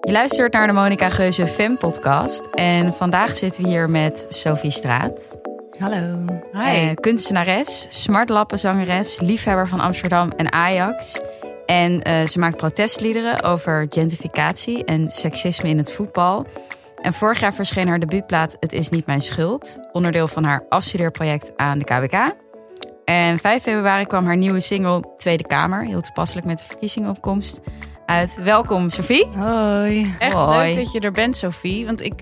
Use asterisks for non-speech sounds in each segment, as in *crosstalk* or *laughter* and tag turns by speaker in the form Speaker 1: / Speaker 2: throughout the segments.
Speaker 1: Je luistert naar de Monica Geuze Fem podcast. En vandaag zitten we hier met Sophie Straat.
Speaker 2: Hallo.
Speaker 1: Eh, kunstenares, smartlappenzangeres, liefhebber van Amsterdam en Ajax. En eh, ze maakt protestliederen over gentrificatie en seksisme in het voetbal. En vorig jaar verscheen haar debuutplaat Het is niet mijn schuld, onderdeel van haar afstudeerproject aan de KWK. En 5 februari kwam haar nieuwe single Tweede Kamer, heel toepasselijk met de verkiezingenopkomst, uit. Welkom Sophie.
Speaker 2: Hoi.
Speaker 3: Echt
Speaker 1: Hoi.
Speaker 3: leuk dat je er bent, Sophie. Want ik,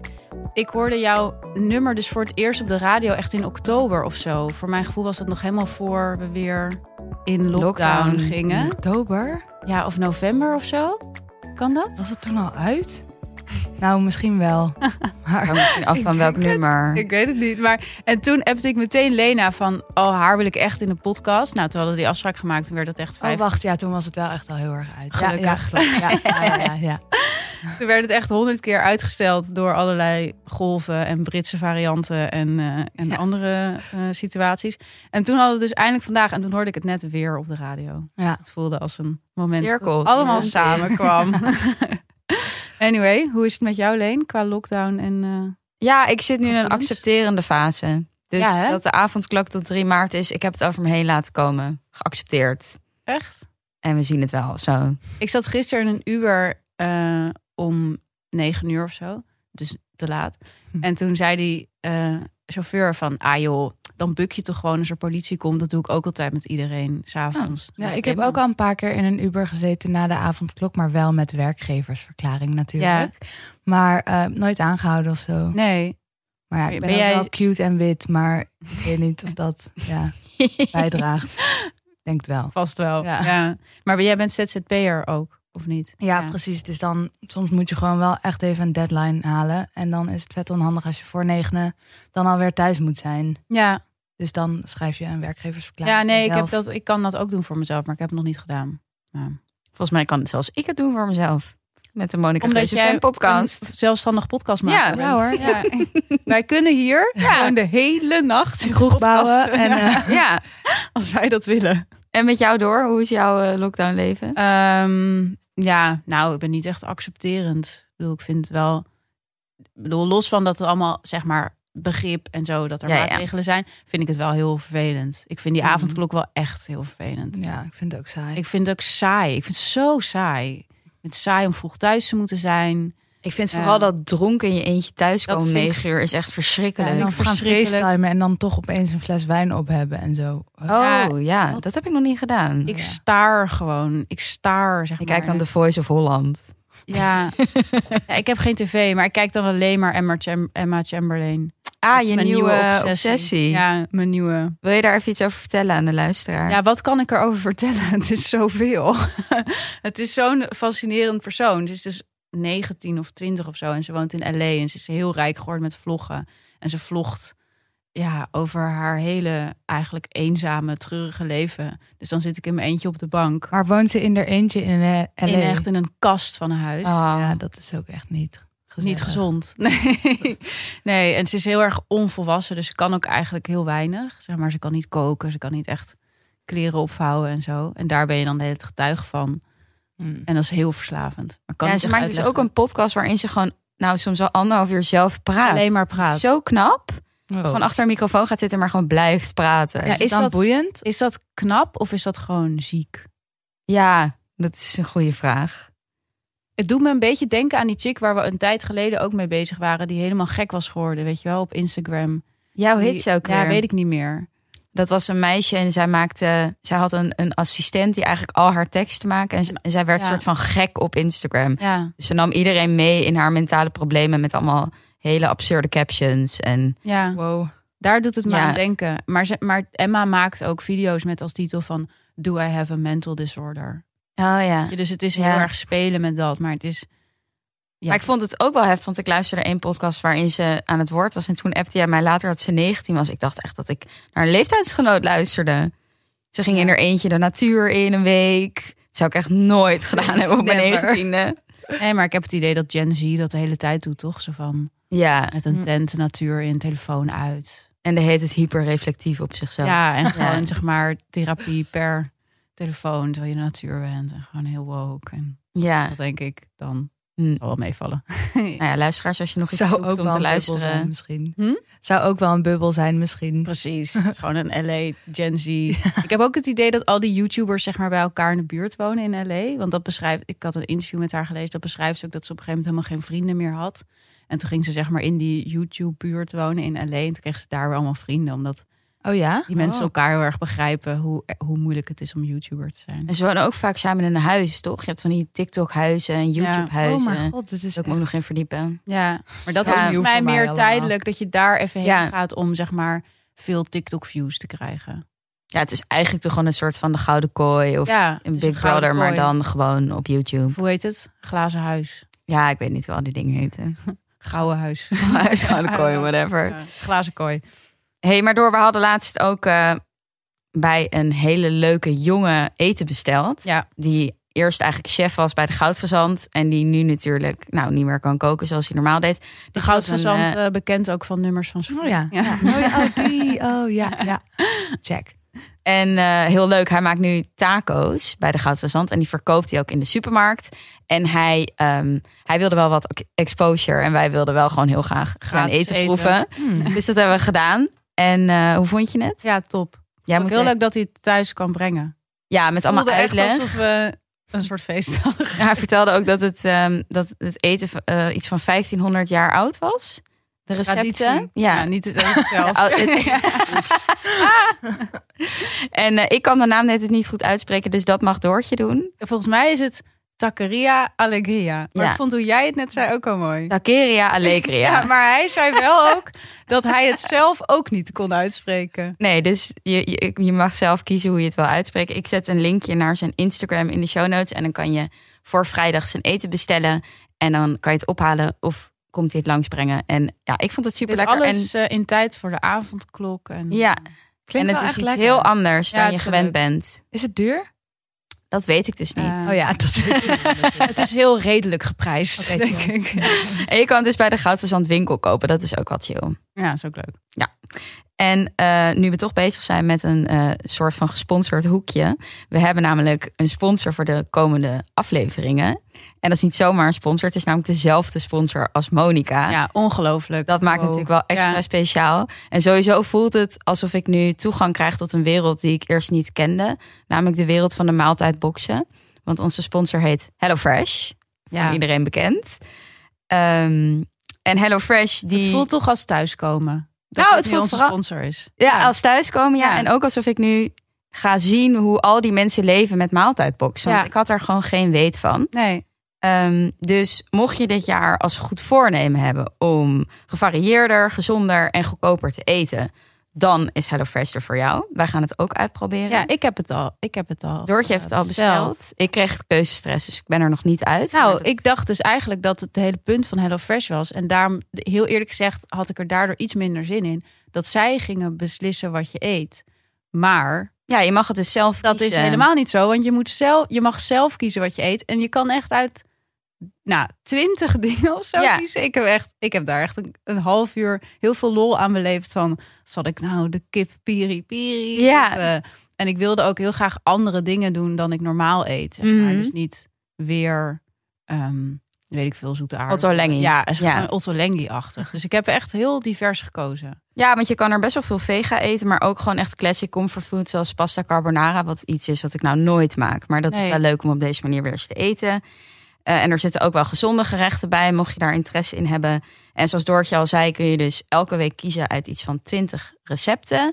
Speaker 3: ik hoorde jouw nummer dus voor het eerst op de radio echt in oktober of zo. Voor mijn gevoel was dat nog helemaal voor we weer in lockdown, gingen.
Speaker 2: Oktober?
Speaker 3: Ja, of november of zo. Kan dat?
Speaker 2: Was het toen al uit? Nou, misschien *laughs* wel.
Speaker 1: Hangt misschien af
Speaker 3: Ik
Speaker 1: van welk
Speaker 3: denk het.
Speaker 1: nummer.
Speaker 3: Ik weet het niet. Maar en toen appte ik meteen Lena van, oh haar wil ik echt in de podcast. Nou, toen hadden we die afspraak gemaakt, toen werd dat echt
Speaker 2: Oh,
Speaker 3: vijf.
Speaker 2: wacht. Ja, toen was het wel echt al heel erg uit. Ja, Ja,
Speaker 3: Gelukkig.
Speaker 2: klopt. Ja, ja, ja, *laughs* ja, ja.
Speaker 3: Toen werd het echt honderd keer uitgesteld door allerlei golven en Britse varianten en, eh, en
Speaker 2: Ja.
Speaker 3: andere eh, situaties. En toen hadden we dus eindelijk vandaag, en toen hoorde ik het net weer op de radio.
Speaker 2: Ja.
Speaker 3: Het voelde als een moment
Speaker 1: Cirkel.
Speaker 3: dat allemaal
Speaker 1: Ja.
Speaker 3: samenkwam. anyway, hoe is het met jou, Leen, qua lockdown? En, eh,
Speaker 1: Ja, ik zit nu in een
Speaker 3: Gevoelens?
Speaker 1: accepterende fase. Dus
Speaker 3: Ja, hè?
Speaker 1: dat de avondklok tot 3 maart is, ik heb het over me heen laten komen. Geaccepteerd.
Speaker 3: eh, echt?
Speaker 1: En we zien het wel zo.
Speaker 3: Ik zat gisteren in een Uber eh, om negen uur of zo. Dus te laat.
Speaker 2: Hm.
Speaker 3: En toen zei die eh, chauffeur van... Ah joh, dan buk je toch gewoon als er politie komt. Dat doe ik ook altijd met iedereen, Dus s'avonds.
Speaker 2: Oh, Ja, ik heb ook al een paar keer in een Uber gezeten na de avondklok, maar wel met werkgeversverklaring natuurlijk. Maar eh, nooit aangehouden of zo.
Speaker 3: Nee,
Speaker 2: Maar ja, ik ben,
Speaker 3: Ben
Speaker 2: ook
Speaker 3: jij-
Speaker 2: wel cute en wit, maar ik weet niet of dat *laughs* ja, bijdraagt. Ik Denk het wel.
Speaker 3: vast wel.
Speaker 2: Ja.
Speaker 3: Ja. Maar jij bent ZZP'er ook, of niet?
Speaker 2: Ja, precies. Dus dan soms moet je gewoon wel echt even een deadline halen. En dan is het vet onhandig als je voor negenen dan alweer thuis moet zijn.
Speaker 3: Ja,
Speaker 2: Dus dan schrijf je een werkgeversverklaring.
Speaker 3: ja nee,
Speaker 2: voor
Speaker 3: ik, heb
Speaker 2: jezelf.
Speaker 3: dat, ik kan dat ook doen voor mezelf. Maar ik heb het nog niet gedaan. Ja.
Speaker 1: Volgens mij kan het zelfs ik het doen voor mezelf. Met de Monica
Speaker 3: Omdat
Speaker 1: Geuze
Speaker 3: jij
Speaker 1: Fan podcast.
Speaker 3: Een zelfstandig podcast maken.
Speaker 1: Ja, ja hoor.
Speaker 3: *laughs* Wij kunnen hier gewoon de hele nacht
Speaker 2: Kroeg bouwen.
Speaker 3: podcasten. *laughs*
Speaker 2: En, eh,
Speaker 1: *laughs* Ja.
Speaker 3: als wij dat willen.
Speaker 1: En met jou door, hoe is jouw eh, lockdown leven?
Speaker 3: Ehm, ja, nou, ik ben niet echt accepterend. Ik bedoel, ik vind wel... Ik bedoel, los van dat het allemaal, zeg maar, begrip en zo... dat er
Speaker 1: Ja, ja.
Speaker 3: maatregelen zijn, vind ik het wel heel vervelend. Ik vind die
Speaker 2: Mhm.
Speaker 3: avondklok wel echt heel vervelend.
Speaker 2: ja, ik vind het ook saai.
Speaker 3: Ik vind het ook saai. Ik vind het zo saai. Ik vind het saai om vroeg thuis te moeten zijn.
Speaker 1: Ik vind
Speaker 3: Ja.
Speaker 1: vooral dat dronken in je eentje thuis
Speaker 3: Dat
Speaker 1: komen om
Speaker 3: vind ik-
Speaker 1: 9 uur is echt
Speaker 2: Ja,
Speaker 1: verschrikkelijk.
Speaker 2: en dan gaan
Speaker 3: verschrikkelijk.
Speaker 2: facetimen en dan toch opeens een fles wijn op hebben en zo.
Speaker 3: Ja,
Speaker 1: oh ja,
Speaker 2: wat?
Speaker 1: dat heb ik nog niet gedaan.
Speaker 3: Ik
Speaker 1: Ik,
Speaker 2: Ja.
Speaker 3: staar gewoon. Ik staar, zeg maar.
Speaker 1: kijk dan The Voice of Holland. *laughs*
Speaker 3: Ja. ja, ik heb geen tv, maar ik kijk dan alleen maar Emma, Cham- Emma Chamberlain.
Speaker 1: Ah,
Speaker 3: Dat is
Speaker 1: je nieuwe,
Speaker 3: mijn
Speaker 1: obsessie.
Speaker 3: Ja, mijn nieuwe...
Speaker 1: Wil je daar even iets over vertellen aan de luisteraar?
Speaker 3: Ja, wat kan ik erover *laughs* vertellen? Het is zoveel. *laughs* het is zo'n fascinerend persoon. Ze is dus 19 of 20 of zo. En ze woont in LA. En ze is heel rijk geworden met vloggen. En ze vlogt ja, over haar hele eigenlijk eenzame, treurige leven. Dus dan zit ik in mijn eentje op de bank.
Speaker 2: Maar woont ze in haar eentje in eh, LA?
Speaker 3: In echt in een kast van een huis.
Speaker 1: Oh.
Speaker 2: Ja, dat is ook echt niet gezond.
Speaker 3: Niet gezond. *laughs* Nee. nee, en ze is heel erg onvolwassen. Dus ze kan ook eigenlijk heel weinig. Zeg maar, ze kan niet koken. Ze kan niet echt kleren opvouwen en zo. En daar ben je dan de hele tijd getuige van.
Speaker 2: Hm.
Speaker 3: En dat is heel verslavend. Maar kan
Speaker 1: Ja, en
Speaker 3: ik
Speaker 1: ze
Speaker 3: toch
Speaker 1: maakt dus ook
Speaker 3: uitleggen?
Speaker 1: een podcast waarin ze gewoon, nou, soms al anderhalf uur zelf praat.
Speaker 3: alleen maar praat. Oh.
Speaker 1: Zo knap.
Speaker 2: Van
Speaker 1: Gewoon achter een microfoon gaat zitten, maar gewoon blijft praten.
Speaker 3: Ja,
Speaker 1: Ja,
Speaker 2: is, Oh. het
Speaker 3: is
Speaker 2: dan
Speaker 3: dat-
Speaker 2: boeiend?
Speaker 3: Is dat knap of is dat gewoon ziek?
Speaker 1: dat is een goede vraag.
Speaker 3: Het doet me een beetje denken aan die chick waar we een tijd geleden ook mee bezig waren. Die helemaal gek was geworden, weet je wel, op Instagram.
Speaker 1: Jouw
Speaker 3: Die-
Speaker 1: hit zo Oh, ook
Speaker 3: Ja,
Speaker 1: weer.
Speaker 3: weet ik niet meer.
Speaker 1: Dat was een meisje en zij maakte, zij had een, een assistent die eigenlijk al haar teksten maakte. En, z- en zij werd
Speaker 3: Ja.
Speaker 1: soort van gek op Instagram.
Speaker 3: Ja,
Speaker 1: Ze nam iedereen mee in haar mentale problemen met allemaal hele absurde captions. En
Speaker 3: ja.
Speaker 2: Wow.
Speaker 3: daar doet het me
Speaker 1: Ja.
Speaker 3: aan denken. Maar, ze, maar Emma maakt ook video's met als titel van... Do I have a mental disorder?
Speaker 1: oh ja.
Speaker 3: Weet je, Dus het is heel
Speaker 1: Ja.
Speaker 3: erg spelen met dat, maar het is... Ja,
Speaker 1: maar ik vond het ook wel heftig, want ik luisterde één podcast waarin ze aan het woord was. En toen appte jij mij later dat ze 19 was. Ik dacht echt dat ik naar een leeftijdsgenoot luisterde. Ze ging in haar eentje de natuur in een week. Dat zou ik echt nooit gedaan hebben op mijn
Speaker 3: Never.
Speaker 1: 19e.
Speaker 3: Nee, maar ik heb het idee dat Gen Z dat de hele tijd doet, toch? Zo van...
Speaker 1: Ja,
Speaker 3: Met een
Speaker 2: Hm.
Speaker 3: tent, de natuur in, telefoon uit.
Speaker 1: en de heet het hyperreflectief op zichzelf.
Speaker 3: Ja, en gewoon
Speaker 1: Ja.
Speaker 3: zeg maar therapie per telefoon terwijl je in de natuur bent. En gewoon heel woke. En
Speaker 1: ja.
Speaker 3: dat denk ik dan.
Speaker 1: Hm.
Speaker 3: Zal wel meevallen.
Speaker 1: Nou ja, luisteraars, als je nog iets
Speaker 2: Zou
Speaker 1: zoekt
Speaker 2: ook
Speaker 1: om
Speaker 2: wel
Speaker 1: te
Speaker 2: een bubbel zijn
Speaker 1: luisteren.
Speaker 2: misschien.
Speaker 3: Hm?
Speaker 2: Zou ook wel een bubbel zijn misschien.
Speaker 3: *laughs* *laughs* Precies. Het is gewoon een LA Gen Z. Ik heb ook het idee dat al die YouTubers zeg maar bij elkaar in de buurt wonen in LA. Want dat beschrijft. Ik had een interview met haar gelezen. Dat beschrijft ze ook dat ze op een gegeven moment helemaal geen vrienden meer had. En toen ging ze zeg maar in die YouTube-buurt wonen in LA. En toen kreeg ze daar weer allemaal vrienden. Omdat
Speaker 2: Oh ja?
Speaker 3: die mensen
Speaker 1: Oh.
Speaker 3: elkaar heel erg begrijpen hoe, eh, hoe moeilijk het is om YouTuber te zijn.
Speaker 1: En ze wonen ook vaak samen in een huis, toch? Je hebt van die TikTok-huizen en
Speaker 2: Oh
Speaker 1: YouTube-huizen.
Speaker 2: mijn god, dit is
Speaker 1: Daar moet ik me ook nog in verdiepen.
Speaker 3: Ja, maar dat
Speaker 1: Ja,
Speaker 3: is volgens
Speaker 2: nieuw
Speaker 3: mij
Speaker 2: voor mij
Speaker 3: meer
Speaker 2: allemaal.
Speaker 3: tijdelijk. Dat je daar even heen
Speaker 1: Ja.
Speaker 3: gaat om zeg maar veel TikTok-views te krijgen.
Speaker 1: Ja, het is eigenlijk toch gewoon een soort van de gouden kooi of
Speaker 3: ja, het
Speaker 1: een
Speaker 3: is
Speaker 1: Big
Speaker 3: gouden
Speaker 1: Brother, maar
Speaker 3: kooi.
Speaker 1: dan gewoon op YouTube.
Speaker 3: Hoe heet het? Glazen huis.
Speaker 1: Ja, ik weet niet hoe al die dingen heten. *laughs*
Speaker 3: Gouden huis.
Speaker 1: Huis, gouden kooi, whatever.
Speaker 3: *laughs* Ja, glazen kooi.
Speaker 1: hey, maar door, we hadden laatst ook eh, bij een hele leuke jongen eten besteld.
Speaker 3: Ja.
Speaker 1: Die eerst eigenlijk chef was bij de Goudverzand. En die nu natuurlijk nou, niet meer kan koken zoals hij normaal deed.
Speaker 3: De
Speaker 1: Dus dat was een,
Speaker 3: goudverzand
Speaker 1: eh,
Speaker 3: eh, bekend ook van nummers van Sofie.
Speaker 2: Oh ja.
Speaker 3: Ja.
Speaker 2: ja. Oh, ja. Oh, die. Oh ja, ja. Check.
Speaker 1: En eh, heel leuk, hij maakt nu taco's bij de Goudverzand. En die verkoopt hij ook in de supermarkt. En hij, ehm, hij wilde wel wat exposure. En wij wilden wel gewoon heel graag gaan
Speaker 3: Gratis
Speaker 1: eten,
Speaker 3: eten. Hmm.
Speaker 1: proeven. *laughs* Dus dat hebben we gedaan. En eh, hoe vond je het?
Speaker 3: Ja, top.
Speaker 1: Jij
Speaker 3: Ook heel leuk dat hij het thuis kan brengen.
Speaker 1: Ja, met allemaal
Speaker 3: Voelde echt
Speaker 1: uitleg.
Speaker 3: alsof we een soort feest hadden.
Speaker 1: Ja, *laughs* hij vertelde ook dat het, ehm, dat het eten eh, iets van 1500 jaar oud was. De recepten.
Speaker 3: Traditie.
Speaker 1: Ja.
Speaker 3: Nou, niet het eten *laughs* zelf.
Speaker 1: Oh, het- en eh, ik kan de naam net het niet goed uitspreken, dus dat mag Doortje doen.
Speaker 3: *laughs* Volgens mij is het Taqueria Alegria. Maar
Speaker 1: Ja.
Speaker 3: ik vond hoe jij het net zei ook al mooi.
Speaker 1: Takeria Allegria.
Speaker 3: Ja, maar hij zei wel ook dat hij het zelf ook niet kon uitspreken.
Speaker 1: Nee, dus je, je, je mag zelf kiezen hoe je het wil uitspreken. Ik zet een linkje naar zijn Instagram in de show notes. En dan kan je voor vrijdag zijn eten bestellen. En dan kan je het ophalen of komt hij het langsbrengen. En ja, ik vond het super
Speaker 3: Dit
Speaker 1: lekker.
Speaker 3: alles eh, in tijd voor de avondklok. En,
Speaker 1: En, ja, en
Speaker 2: Klinkt
Speaker 1: het
Speaker 2: wel
Speaker 1: is
Speaker 2: echt
Speaker 1: iets
Speaker 2: lekker.
Speaker 1: heel anders
Speaker 3: Ja,
Speaker 1: dan
Speaker 3: het
Speaker 1: je
Speaker 3: is
Speaker 1: gewend
Speaker 3: leuk.
Speaker 1: bent.
Speaker 2: Is het duur?
Speaker 1: Dat weet ik dus niet.
Speaker 3: Eh,
Speaker 2: Oh ja, dat is
Speaker 3: Het is heel redelijk geprijsd,
Speaker 2: Oké,
Speaker 3: denk
Speaker 2: chill.
Speaker 3: ik.
Speaker 1: En je kan het dus bij de Goudverzand winkel kopen. Dat is ook wat chill.
Speaker 3: Ja, is ook leuk.
Speaker 1: En eh, nu we toch bezig zijn met een eh, soort van gesponsord hoekje. We hebben namelijk een sponsor voor de komende afleveringen. En dat is niet zomaar een sponsor. Het is namelijk dezelfde sponsor als Monica.
Speaker 3: Ja, ongelooflijk.
Speaker 1: Dat maakt
Speaker 3: Wow.
Speaker 1: natuurlijk wel extra
Speaker 3: Ja.
Speaker 1: speciaal. En sowieso voelt het alsof ik nu toegang krijg tot een wereld die ik eerst niet kende. Namelijk de wereld van de maaltijdboxen. Want onze sponsor heet HelloFresh. Ja.
Speaker 3: Ja.
Speaker 1: Iedereen bekend. Ehm, en HelloFresh die...
Speaker 3: Het voelt toch als thuiskomen. Dat
Speaker 1: Nou, het
Speaker 3: dit nu
Speaker 1: voelt
Speaker 3: onze
Speaker 1: vooral-
Speaker 3: sponsor is.
Speaker 1: Ja, als thuiskomen. Ja.
Speaker 3: Ja.
Speaker 1: En ook alsof ik nu ga zien hoe al die mensen leven met maaltijdboxen. Want
Speaker 3: Ja.
Speaker 1: ik had daar gewoon geen weet van.
Speaker 3: Nee,
Speaker 1: Ehm, dus mocht je dit jaar als goed voornemen hebben om gevarieerder, gezonder en goedkoper te eten, dan is HelloFresh er voor jou. Wij gaan het ook uitproberen.
Speaker 3: ja, ik heb het al. Ik heb het al.
Speaker 1: Doortje heeft het al
Speaker 3: eh, besteld.
Speaker 1: besteld. Ik kreeg keuzestress, dus ik ben er nog niet uit.
Speaker 3: Nou,
Speaker 1: Maar dat-
Speaker 3: ik dacht dus eigenlijk dat het hele punt van HelloFresh was. En daarom, heel eerlijk gezegd, had ik er daardoor iets minder zin in. Dat zij gingen beslissen wat je eet. Maar
Speaker 1: Ja, je mag het dus zelf
Speaker 3: dat is
Speaker 1: kiezen.
Speaker 3: helemaal niet zo. Want je, moet zelf, je mag zelf kiezen wat je eet. En je kan echt uit nou, twintig *laughs* dingen of zo
Speaker 1: Ja.
Speaker 3: kiezen. Ik heb, echt, ik heb daar echt een, een half uur heel veel lol aan beleefd. Van, zal ik nou de kip piri piri?
Speaker 1: Ja.
Speaker 3: of, eh, en ik wilde ook heel graag andere dingen doen dan ik normaal eet. zeg Maar
Speaker 1: Mhm.
Speaker 3: dus niet weer, ehm, weet ik veel, zoete aardappelen.
Speaker 1: Otto Lengi.
Speaker 3: Ja, is
Speaker 1: Ja.
Speaker 3: gewoon Otto Lengi-achtig. Dus ik heb echt heel divers gekozen.
Speaker 1: Ja, want je kan er best wel veel vega eten, maar ook gewoon echt classic comfort food zoals pasta carbonara, wat iets is wat ik nou nooit maak. Maar dat is
Speaker 3: Nee.
Speaker 1: wel leuk om op deze manier weer eens te eten. Eh, en er zitten ook wel gezonde gerechten bij, mocht je daar interesse in hebben. En zoals Doortje al zei, kun je dus elke week kiezen uit iets van 20 recepten.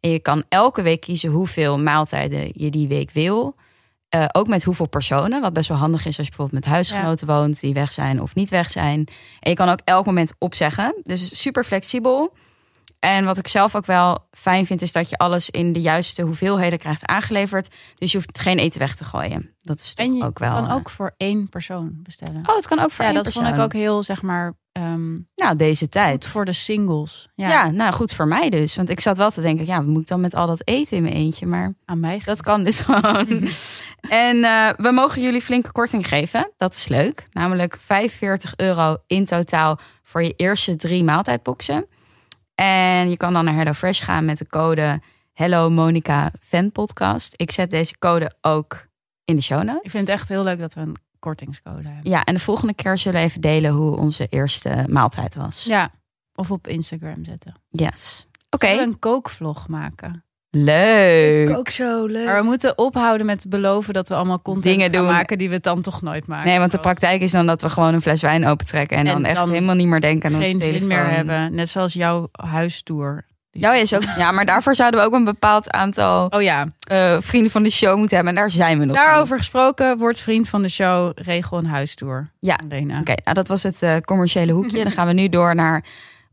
Speaker 1: En je kan elke week kiezen hoeveel maaltijden je die week wil. Eh, ook met hoeveel personen, wat best wel handig is als je bijvoorbeeld met huisgenoten woont die weg zijn of niet weg zijn. En je kan ook elk moment opzeggen. Dus super flexibel. En wat ik zelf ook wel fijn vind, is dat je alles in de juiste hoeveelheden krijgt aangeleverd. Dus je hoeft geen eten weg te gooien. Dat is toch
Speaker 3: en je
Speaker 1: ook wel.
Speaker 3: kan
Speaker 1: eh,
Speaker 3: ook voor één persoon bestellen.
Speaker 1: Oh, het kan ook voor
Speaker 3: ja,
Speaker 1: één
Speaker 3: dat
Speaker 1: persoon.
Speaker 3: vond ik ook heel, zeg maar, ehm,
Speaker 1: Nou, deze tijd.
Speaker 3: goed voor de singles. Ja,
Speaker 1: ja. nou goed voor mij dus. Want ik zat wel te denken, ja, wat moet ik dan met al dat eten in mijn eentje? Maar
Speaker 3: aan mij.
Speaker 1: dat kan dus *laughs*
Speaker 3: *laughs*
Speaker 1: gewoon. en eh, we mogen jullie flinke korting geven. Dat is leuk. Namelijk 45 euro in totaal voor je eerste drie maaltijdboxen. En je kan dan naar HelloFresh gaan met de code Hello Monica Fan Podcast. Ik zet deze code ook in de show notes.
Speaker 3: Ik vind het echt heel leuk dat we een kortingscode hebben.
Speaker 1: Ja, en de volgende keer zullen we even delen hoe onze eerste maaltijd was.
Speaker 3: Ja, of op Instagram zetten.
Speaker 1: Yes. Oké,
Speaker 3: Zullen we een kookvlog maken.
Speaker 1: leuk.
Speaker 2: Ook zo leuk.
Speaker 3: Maar we moeten ophouden met beloven dat we allemaal content
Speaker 1: Eh. Dingen
Speaker 3: gaan
Speaker 1: doen.
Speaker 3: maken die we dan toch nooit maken.
Speaker 1: Nee, want de
Speaker 3: Of
Speaker 1: praktijk is dan dat we gewoon een fles wijn opentrekken en,
Speaker 3: En
Speaker 1: dan echt
Speaker 3: dan
Speaker 1: helemaal niet meer denken aan onze
Speaker 3: geen zin
Speaker 1: telefoon.
Speaker 3: meer hebben. Net zoals jouw huistour.
Speaker 1: Nou is ook, ja, maar daarvoor zouden we ook een bepaald aantal
Speaker 3: Oh ja,
Speaker 1: eh, vrienden van de show moeten hebben. En daar zijn we nog
Speaker 3: daarover
Speaker 1: niet.
Speaker 3: gesproken. Word vriend van de show. Regel een huistour.
Speaker 1: Ja.
Speaker 3: Lena.
Speaker 1: Oké, nou dat was het eh, commerciële hoekje. Dan gaan we nu door naar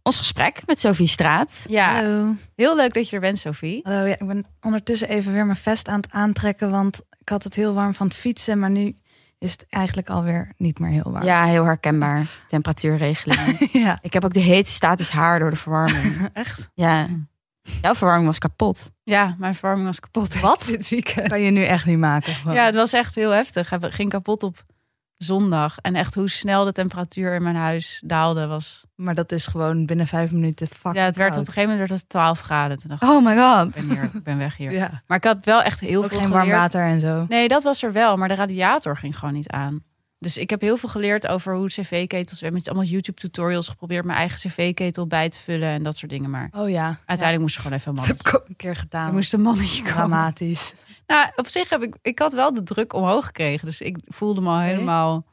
Speaker 1: ons gesprek met Sophie Straat.
Speaker 3: Ja,
Speaker 2: Hallo.
Speaker 3: heel leuk dat je er bent,
Speaker 1: *laughs*
Speaker 3: Sophie.
Speaker 2: Hallo, ja, ik ben ondertussen even weer mijn vest aan het aantrekken, want ik had het heel warm van het fietsen, maar nu is het eigenlijk alweer niet meer heel warm.
Speaker 1: Ja, heel herkenbaar. Temperatuurregeling.
Speaker 2: *laughs* ja.
Speaker 1: Ik heb ook de hete statisch haar door de verwarming.
Speaker 3: Echt?
Speaker 1: Ja. Jouw verwarming was kapot.
Speaker 3: Ja, mijn verwarming was kapot.
Speaker 2: *laughs*
Speaker 1: Wat?
Speaker 3: Dit weekend.
Speaker 2: Kan je nu echt niet maken. gewoon.
Speaker 3: Ja, het was echt heel heftig. Hij ging kapot op zondag. En echt hoe snel de temperatuur in mijn huis daalde was.
Speaker 2: Maar dat is gewoon binnen vijf minuten fucking
Speaker 3: ja, het werd
Speaker 2: koud.
Speaker 3: op een gegeven moment werd het 12 graden. Toen dacht ik,
Speaker 1: Oh my god.
Speaker 3: ik ben,
Speaker 2: *laughs*
Speaker 3: hier, ik ben weg hier.
Speaker 2: Ja.
Speaker 3: Maar ik had wel echt heel
Speaker 2: Ook
Speaker 3: veel
Speaker 2: geen
Speaker 3: geleerd.
Speaker 2: warm water en zo.
Speaker 3: Nee, dat was er wel. Maar de radiator ging gewoon niet aan. Dus ik heb heel veel geleerd over hoe cv-ketels... We hebben met allemaal YouTube-tutorials geprobeerd... mijn eigen cv-ketel bij te vullen en dat soort dingen. Maar
Speaker 2: Oh ja.
Speaker 3: uiteindelijk moest er gewoon even een
Speaker 2: Ja. Dat
Speaker 3: mannetje.
Speaker 2: heb ik ook een keer
Speaker 3: Er
Speaker 2: gedaan.
Speaker 3: moest een mannetje komen.
Speaker 2: Dramatisch.
Speaker 3: Nou, op zich heb ik... Ik had wel de druk omhoog gekregen. Dus ik voelde me al helemaal...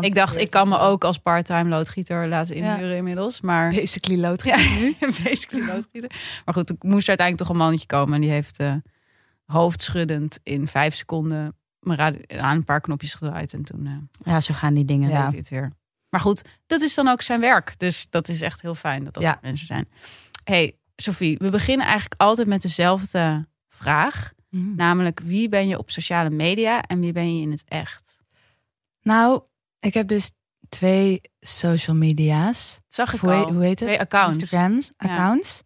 Speaker 3: Ik dacht, ik kan me ook als part-time loodgieter laten
Speaker 2: eh, Ja.
Speaker 3: inhuren inmiddels. Maar
Speaker 2: Basically lood
Speaker 3: nu *laughs* basically loodgieter. Maar goed, ik moest uiteindelijk toch een mannetje komen. En die heeft eh, hoofdschuddend in vijf seconden mijn radio- aan een paar knopjes gedraaid. En toen eh
Speaker 1: Ja, zo gaan die dingen.
Speaker 3: deed hij het weer. Maar goed, dat is dan ook zijn werk. Dus dat is echt heel fijn dat dat
Speaker 2: Ja.
Speaker 3: soort mensen zijn. hey, Sophie, we beginnen eigenlijk altijd met dezelfde vraag.
Speaker 2: Mm.
Speaker 3: Namelijk, wie ben je op sociale media en wie ben je in het echt?
Speaker 2: Nou, ik heb dus twee social media's.
Speaker 3: Dat zag ik
Speaker 2: Of hoe,
Speaker 3: al.
Speaker 2: hoe heet het?
Speaker 3: Twee accounts.
Speaker 2: Instagrams,
Speaker 3: Ja.
Speaker 2: accounts.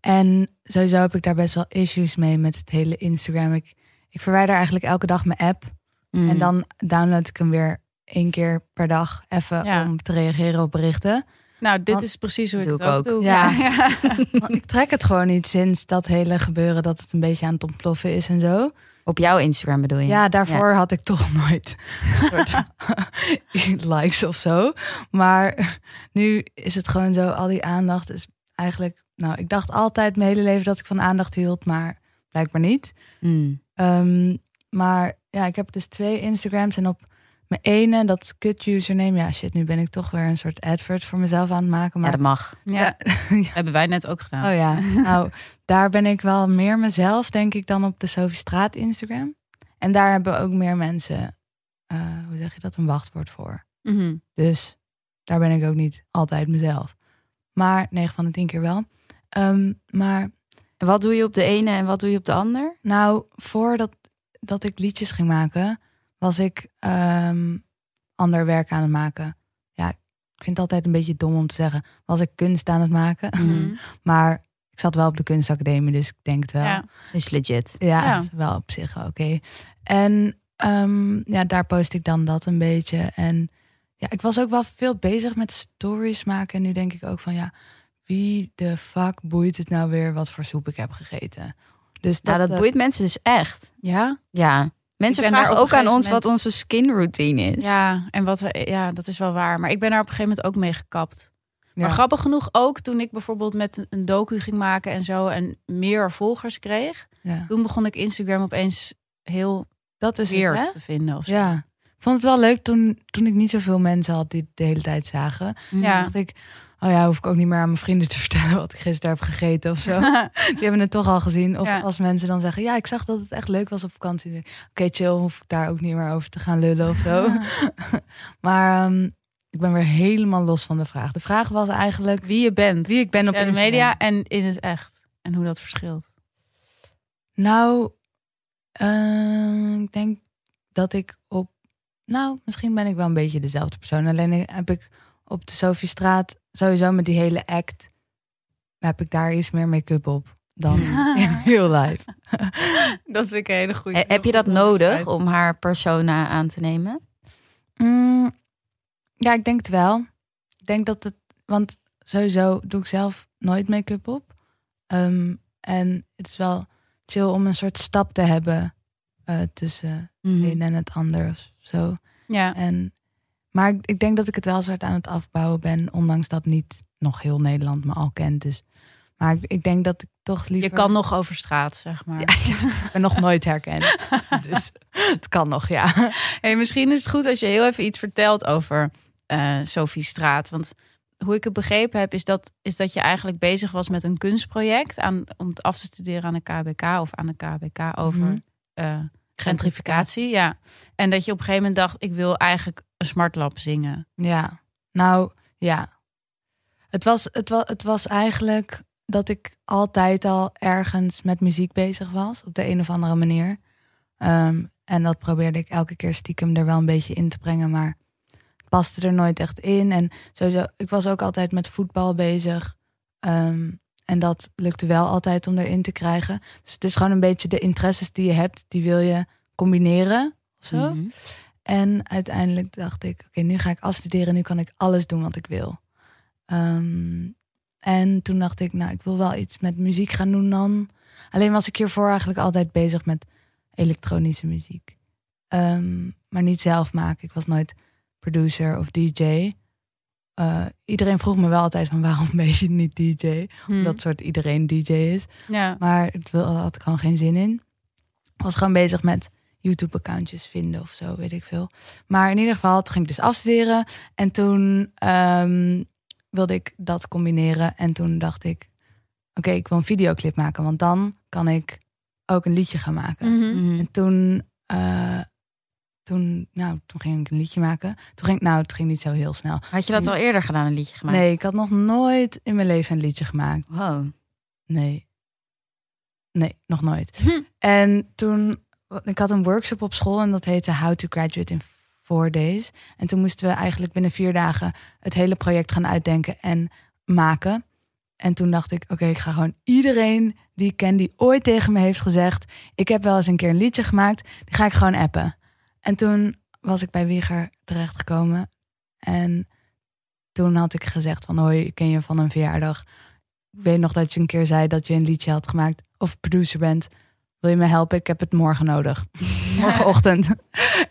Speaker 2: En sowieso heb ik daar best wel issues mee met het hele Instagram. Ik, ik verwijder eigenlijk elke dag mijn app.
Speaker 1: Mm.
Speaker 2: En dan download ik hem weer één keer per dag even
Speaker 3: Ja.
Speaker 2: om te reageren op berichten.
Speaker 3: Nou, dit
Speaker 2: Want-
Speaker 3: is precies hoe ik
Speaker 1: Doe
Speaker 3: het
Speaker 1: ik
Speaker 3: ook,
Speaker 1: ook.
Speaker 3: doe.
Speaker 2: Ja. Want ik trek het gewoon niet sinds dat hele gebeuren dat het een beetje aan het ontploffen is en zo.
Speaker 1: Op jouw Instagram bedoel je?
Speaker 2: Ja, daarvoor had ik toch *laughs* nooit een
Speaker 3: *laughs*
Speaker 2: soort *laughs* likes of zo. Maar nu is het gewoon zo, al die aandacht is eigenlijk... Nou, ik dacht altijd mijn hele leven dat ik van aandacht hield, maar blijkbaar niet.
Speaker 1: Mm.
Speaker 2: Ehm, maar ja, ik heb dus twee Instagrams en op mijn ene, dat is kut username. Ja, shit, nu ben ik toch weer een soort advert voor mezelf aan het maken.
Speaker 1: Ja,
Speaker 2: Maar
Speaker 1: dat mag.
Speaker 3: Ja.
Speaker 2: *laughs*
Speaker 3: Hebben wij net ook gedaan.
Speaker 2: Oh ja, nou, daar ben ik wel meer mezelf, denk ik, dan op de Sophie Straat Instagram. En daar hebben ook meer mensen, eh, hoe zeg je dat, een wachtwoord voor.
Speaker 3: Mhm.
Speaker 2: Dus daar ben ik ook niet altijd mezelf. Maar 9 van de 10 keer wel. Ehm, maar
Speaker 1: En wat doe je op de ene en wat doe je op de ander?
Speaker 2: nou, voordat dat ik liedjes ging maken, was ik ehm, ander werk aan het maken. Ja, ik vind het altijd een beetje dom om te zeggen, was ik kunst aan het maken.
Speaker 3: Mhm.
Speaker 1: Mm.
Speaker 2: *laughs* Maar ik zat wel op de kunstacademie, dus ik denk het wel.
Speaker 3: Ja.
Speaker 1: Is legit.
Speaker 2: Ja,
Speaker 3: Ja.
Speaker 2: het is wel op zich wel oké. En ehm, ja, daar post ik dan dat een beetje. En ja, ik was ook wel veel bezig met stories maken. En nu denk ik ook van ja, wie de fuck boeit het nou weer wat voor soep ik heb gegeten? Dus dat,
Speaker 1: Nou, dat
Speaker 2: eh,
Speaker 1: boeit mensen dus echt.
Speaker 3: Ja?
Speaker 1: Ja. Mensen
Speaker 3: Ik ben
Speaker 1: vragen
Speaker 3: daar op
Speaker 1: ook
Speaker 3: een
Speaker 1: aan
Speaker 3: gegeven
Speaker 1: ons
Speaker 3: moment-
Speaker 1: wat onze skin routine is.
Speaker 3: Ja, en wat, we- ja, dat is wel waar. Maar ik ben daar op een gegeven moment ook mee gekapt. Maar
Speaker 2: Ja.
Speaker 3: grappig genoeg ook toen ik bijvoorbeeld met een- een docu ging maken en zo en meer volgers kreeg.
Speaker 2: ja.
Speaker 3: Toen begon ik Instagram opeens heel
Speaker 2: dat is het, hè?
Speaker 3: weird te vinden. Of zo.
Speaker 2: Ja. Ik vond het wel leuk toen, toen ik niet zoveel mensen had die het de hele tijd zagen.
Speaker 1: Mm.
Speaker 3: Ja.
Speaker 2: dacht ik, oh ja, hoef ik ook niet meer aan mijn vrienden te *laughs* vertellen wat ik gisteren heb gegeten of
Speaker 3: *laughs*
Speaker 2: zo. Die hebben het toch al gezien. Of
Speaker 3: Ja.
Speaker 2: als mensen dan zeggen, ja, ik zag dat het echt leuk was op vakantie. Oké, chill, hoef ik daar ook niet meer over te gaan lullen of
Speaker 3: *laughs*
Speaker 2: zo. maar ehm, ik ben weer helemaal los van de vraag. De vraag was eigenlijk
Speaker 3: Wie je bent.
Speaker 2: wie ik ben op
Speaker 3: Sociale
Speaker 2: Instagram.
Speaker 3: media en in het echt. En hoe dat verschilt.
Speaker 2: Nou, eh, ik denk dat ik op... Nou, misschien ben ik wel een beetje dezelfde persoon. Alleen heb ik op de Sofiestraat sowieso met die hele act... heb ik daar iets meer make-up op dan
Speaker 3: *laughs*
Speaker 2: in real life.
Speaker 3: Dat vind ik een hele goede.
Speaker 1: Eh, Heb je dat nodig om haar persona aan te nemen?
Speaker 2: Mm, ja, ik denk het wel. Ik denk dat het, want sowieso doe ik zelf nooit make-up op. Ehm, en het is wel
Speaker 3: Mhm.
Speaker 2: chill om een soort stap te hebben eh, tussen het een en het ander of zo.
Speaker 3: Mm. Ja.
Speaker 2: En, maar ik- ik denk dat ik het wel zo hard aan het afbouwen ben. Ondanks dat niet nog heel Nederland me al kent. Dus. Maar ik, ik denk dat ik toch liever...
Speaker 3: Je kan nog over straat, zeg maar.
Speaker 2: Ik ben *laughs* nog nooit herkend. *laughs* dus het kan nog, ja.
Speaker 3: Hey, misschien is het goed als je heel even iets vertelt over eh Sophie Straat. Want hoe ik het begrepen heb, is dat, is dat je eigenlijk bezig was met een kunstproject aan, om af te studeren aan de KBK of aan de KBK over
Speaker 2: Mhm.
Speaker 3: eh, gentrificatie. Ja. En dat je op een gegeven moment dacht, ik wil eigenlijk een smartlap zingen.
Speaker 2: Ja, nou ja. Het was, het, was, het was eigenlijk dat ik altijd al ergens met muziek bezig was, op de een of andere manier. Ehm, en dat probeerde ik elke keer stiekem er wel een beetje in te brengen, maar het paste er nooit echt in. En sowieso, ik was ook altijd met voetbal bezig. Ehm, en dat lukte wel altijd om erin te krijgen. Dus het is gewoon een beetje de interesses die je hebt, die wil je combineren of zo.
Speaker 1: Mhm.
Speaker 2: En uiteindelijk dacht ik, oké, nu ga ik afstuderen. Nu kan ik alles doen wat ik wil. Ehm, en toen dacht ik, nou, ik wil wel iets met muziek gaan doen dan. Alleen was ik hiervoor eigenlijk altijd bezig met elektronische muziek. Ehm, maar niet zelf maken. Ik was nooit producer of DJ. Eh, iedereen vroeg me wel altijd van waarom *laughs* ben je niet DJ?
Speaker 3: Mm.
Speaker 2: Dat soort iedereen DJ is.
Speaker 3: Ja.
Speaker 2: Maar het wil- daar had ik gewoon geen zin in. Ik was gewoon bezig met YouTube-accountjes vinden of zo, weet ik veel. Maar in ieder geval, toen ging ik dus afstuderen. En toen ehm, wilde ik dat combineren. En toen dacht ik, oké, ik wil een videoclip maken. Want dan kan ik ook een liedje gaan maken.
Speaker 3: Mhm.
Speaker 1: Mhm.
Speaker 2: En toen, eh, toen, nou, toen ging ik een liedje maken. Toen ging, nou, het ging niet zo heel snel.
Speaker 1: Had je dat al eerder gedaan, een liedje gemaakt?
Speaker 2: Nee, ik had nog nooit in mijn leven een liedje gemaakt.
Speaker 1: Wow.
Speaker 2: Nee. Nee, nog nooit.
Speaker 3: Hm.
Speaker 2: En toen, ik had een workshop op school en dat heette How to Graduate in Four Days. En toen moesten we eigenlijk binnen vier dagen het hele project gaan uitdenken en maken. En toen dacht ik, oké, ik ga gewoon iedereen die ik ken die ooit tegen me heeft gezegd, ik heb wel eens een keer een liedje gemaakt, die ga ik gewoon appen. En toen was ik bij Wieger terechtgekomen en toen had ik gezegd van, hoi, ik ken je van een verjaardag. Ik weet nog dat je een keer zei dat je een liedje had gemaakt of producer bent. Wil je me helpen? Ik heb het morgen
Speaker 1: *laughs*
Speaker 2: nodig. Morgenochtend.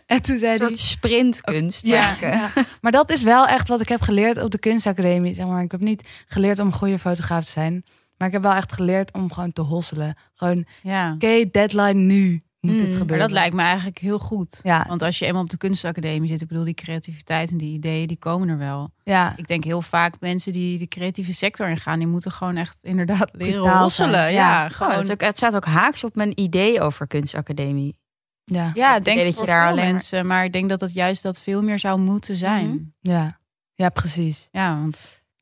Speaker 2: en toen zei
Speaker 1: Een
Speaker 2: hij...
Speaker 1: soort sprintkunst
Speaker 2: Ja.
Speaker 1: maken. *laughs*
Speaker 2: *laughs* Maar dat is wel echt wat ik heb geleerd op de kunstacademie. Zeg maar. Ik heb niet geleerd om een goede fotograaf te zijn. Maar ik heb wel echt geleerd om gewoon te hosselen. Gewoon, oké,
Speaker 3: ja.
Speaker 2: deadline nu moet
Speaker 1: Mm,
Speaker 2: dit
Speaker 1: maar
Speaker 2: gebeuren.
Speaker 3: Maar dat lijkt me eigenlijk heel goed.
Speaker 2: Ja,
Speaker 3: Want als je eenmaal op de kunstacademie zit, ik bedoel, die creativiteit en die ideeën, die komen er wel.
Speaker 2: ja,
Speaker 3: Ik denk heel vaak mensen die de creatieve sector ingaan, die moeten gewoon echt inderdaad leren
Speaker 2: Brutaal
Speaker 3: hosselen. Ja,
Speaker 2: zijn, ja.
Speaker 1: Oh,
Speaker 3: gewoon.
Speaker 1: het, is ook, het staat ook haaks op mijn idee over kunstacademie.
Speaker 2: ja,
Speaker 3: ja, ik
Speaker 1: idee
Speaker 3: denk
Speaker 1: dat je
Speaker 3: voor
Speaker 1: daar
Speaker 3: veel
Speaker 1: alleen maar-
Speaker 3: mensen, maar... ik denk dat dat juist dat veel meer zou moeten zijn.
Speaker 1: Mhm.
Speaker 2: ja. Ja, precies.
Speaker 3: Ja, want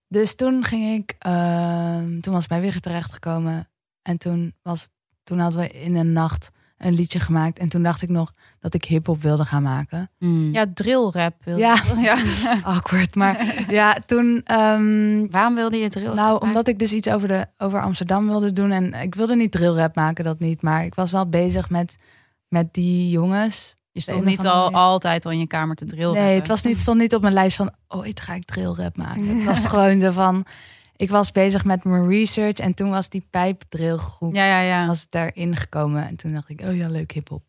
Speaker 2: Dus toen ging ik, ehm, toen was ik bij Wigger terechtgekomen. En toen, was, toen hadden we in een nacht een liedje gemaakt. En toen dacht ik nog dat ik hip-hop wilde gaan
Speaker 1: *laughs*
Speaker 2: maken.
Speaker 1: Ja.
Speaker 3: ja, drillrap. wilde
Speaker 2: *laughs* Ja.
Speaker 3: ik wel. *laughs* ja.
Speaker 2: Awkward. Maar ja, toen ehm,
Speaker 1: Waarom wilde je het heel
Speaker 2: Nou, omdat ik dus iets over, de, over Amsterdam wilde doen. En ik wilde niet drillrap maken, dat niet. Maar ik was wel bezig met, met die jongens.
Speaker 3: Je
Speaker 2: een
Speaker 3: stond
Speaker 2: of
Speaker 3: niet
Speaker 2: andere
Speaker 3: al
Speaker 2: manier.
Speaker 3: altijd al in je kamer te drillrappen.
Speaker 2: Nee, het was niet, stond niet op mijn lijst van ooit ga ik drillrap maken. Het
Speaker 3: *laughs*
Speaker 2: was gewoon zo van, ik was bezig met mijn research. En toen was die pijpdrillgroep
Speaker 3: Ja, ja, ja.
Speaker 2: was daarin gekomen. En toen dacht ik, oh ja, leuk hiphop.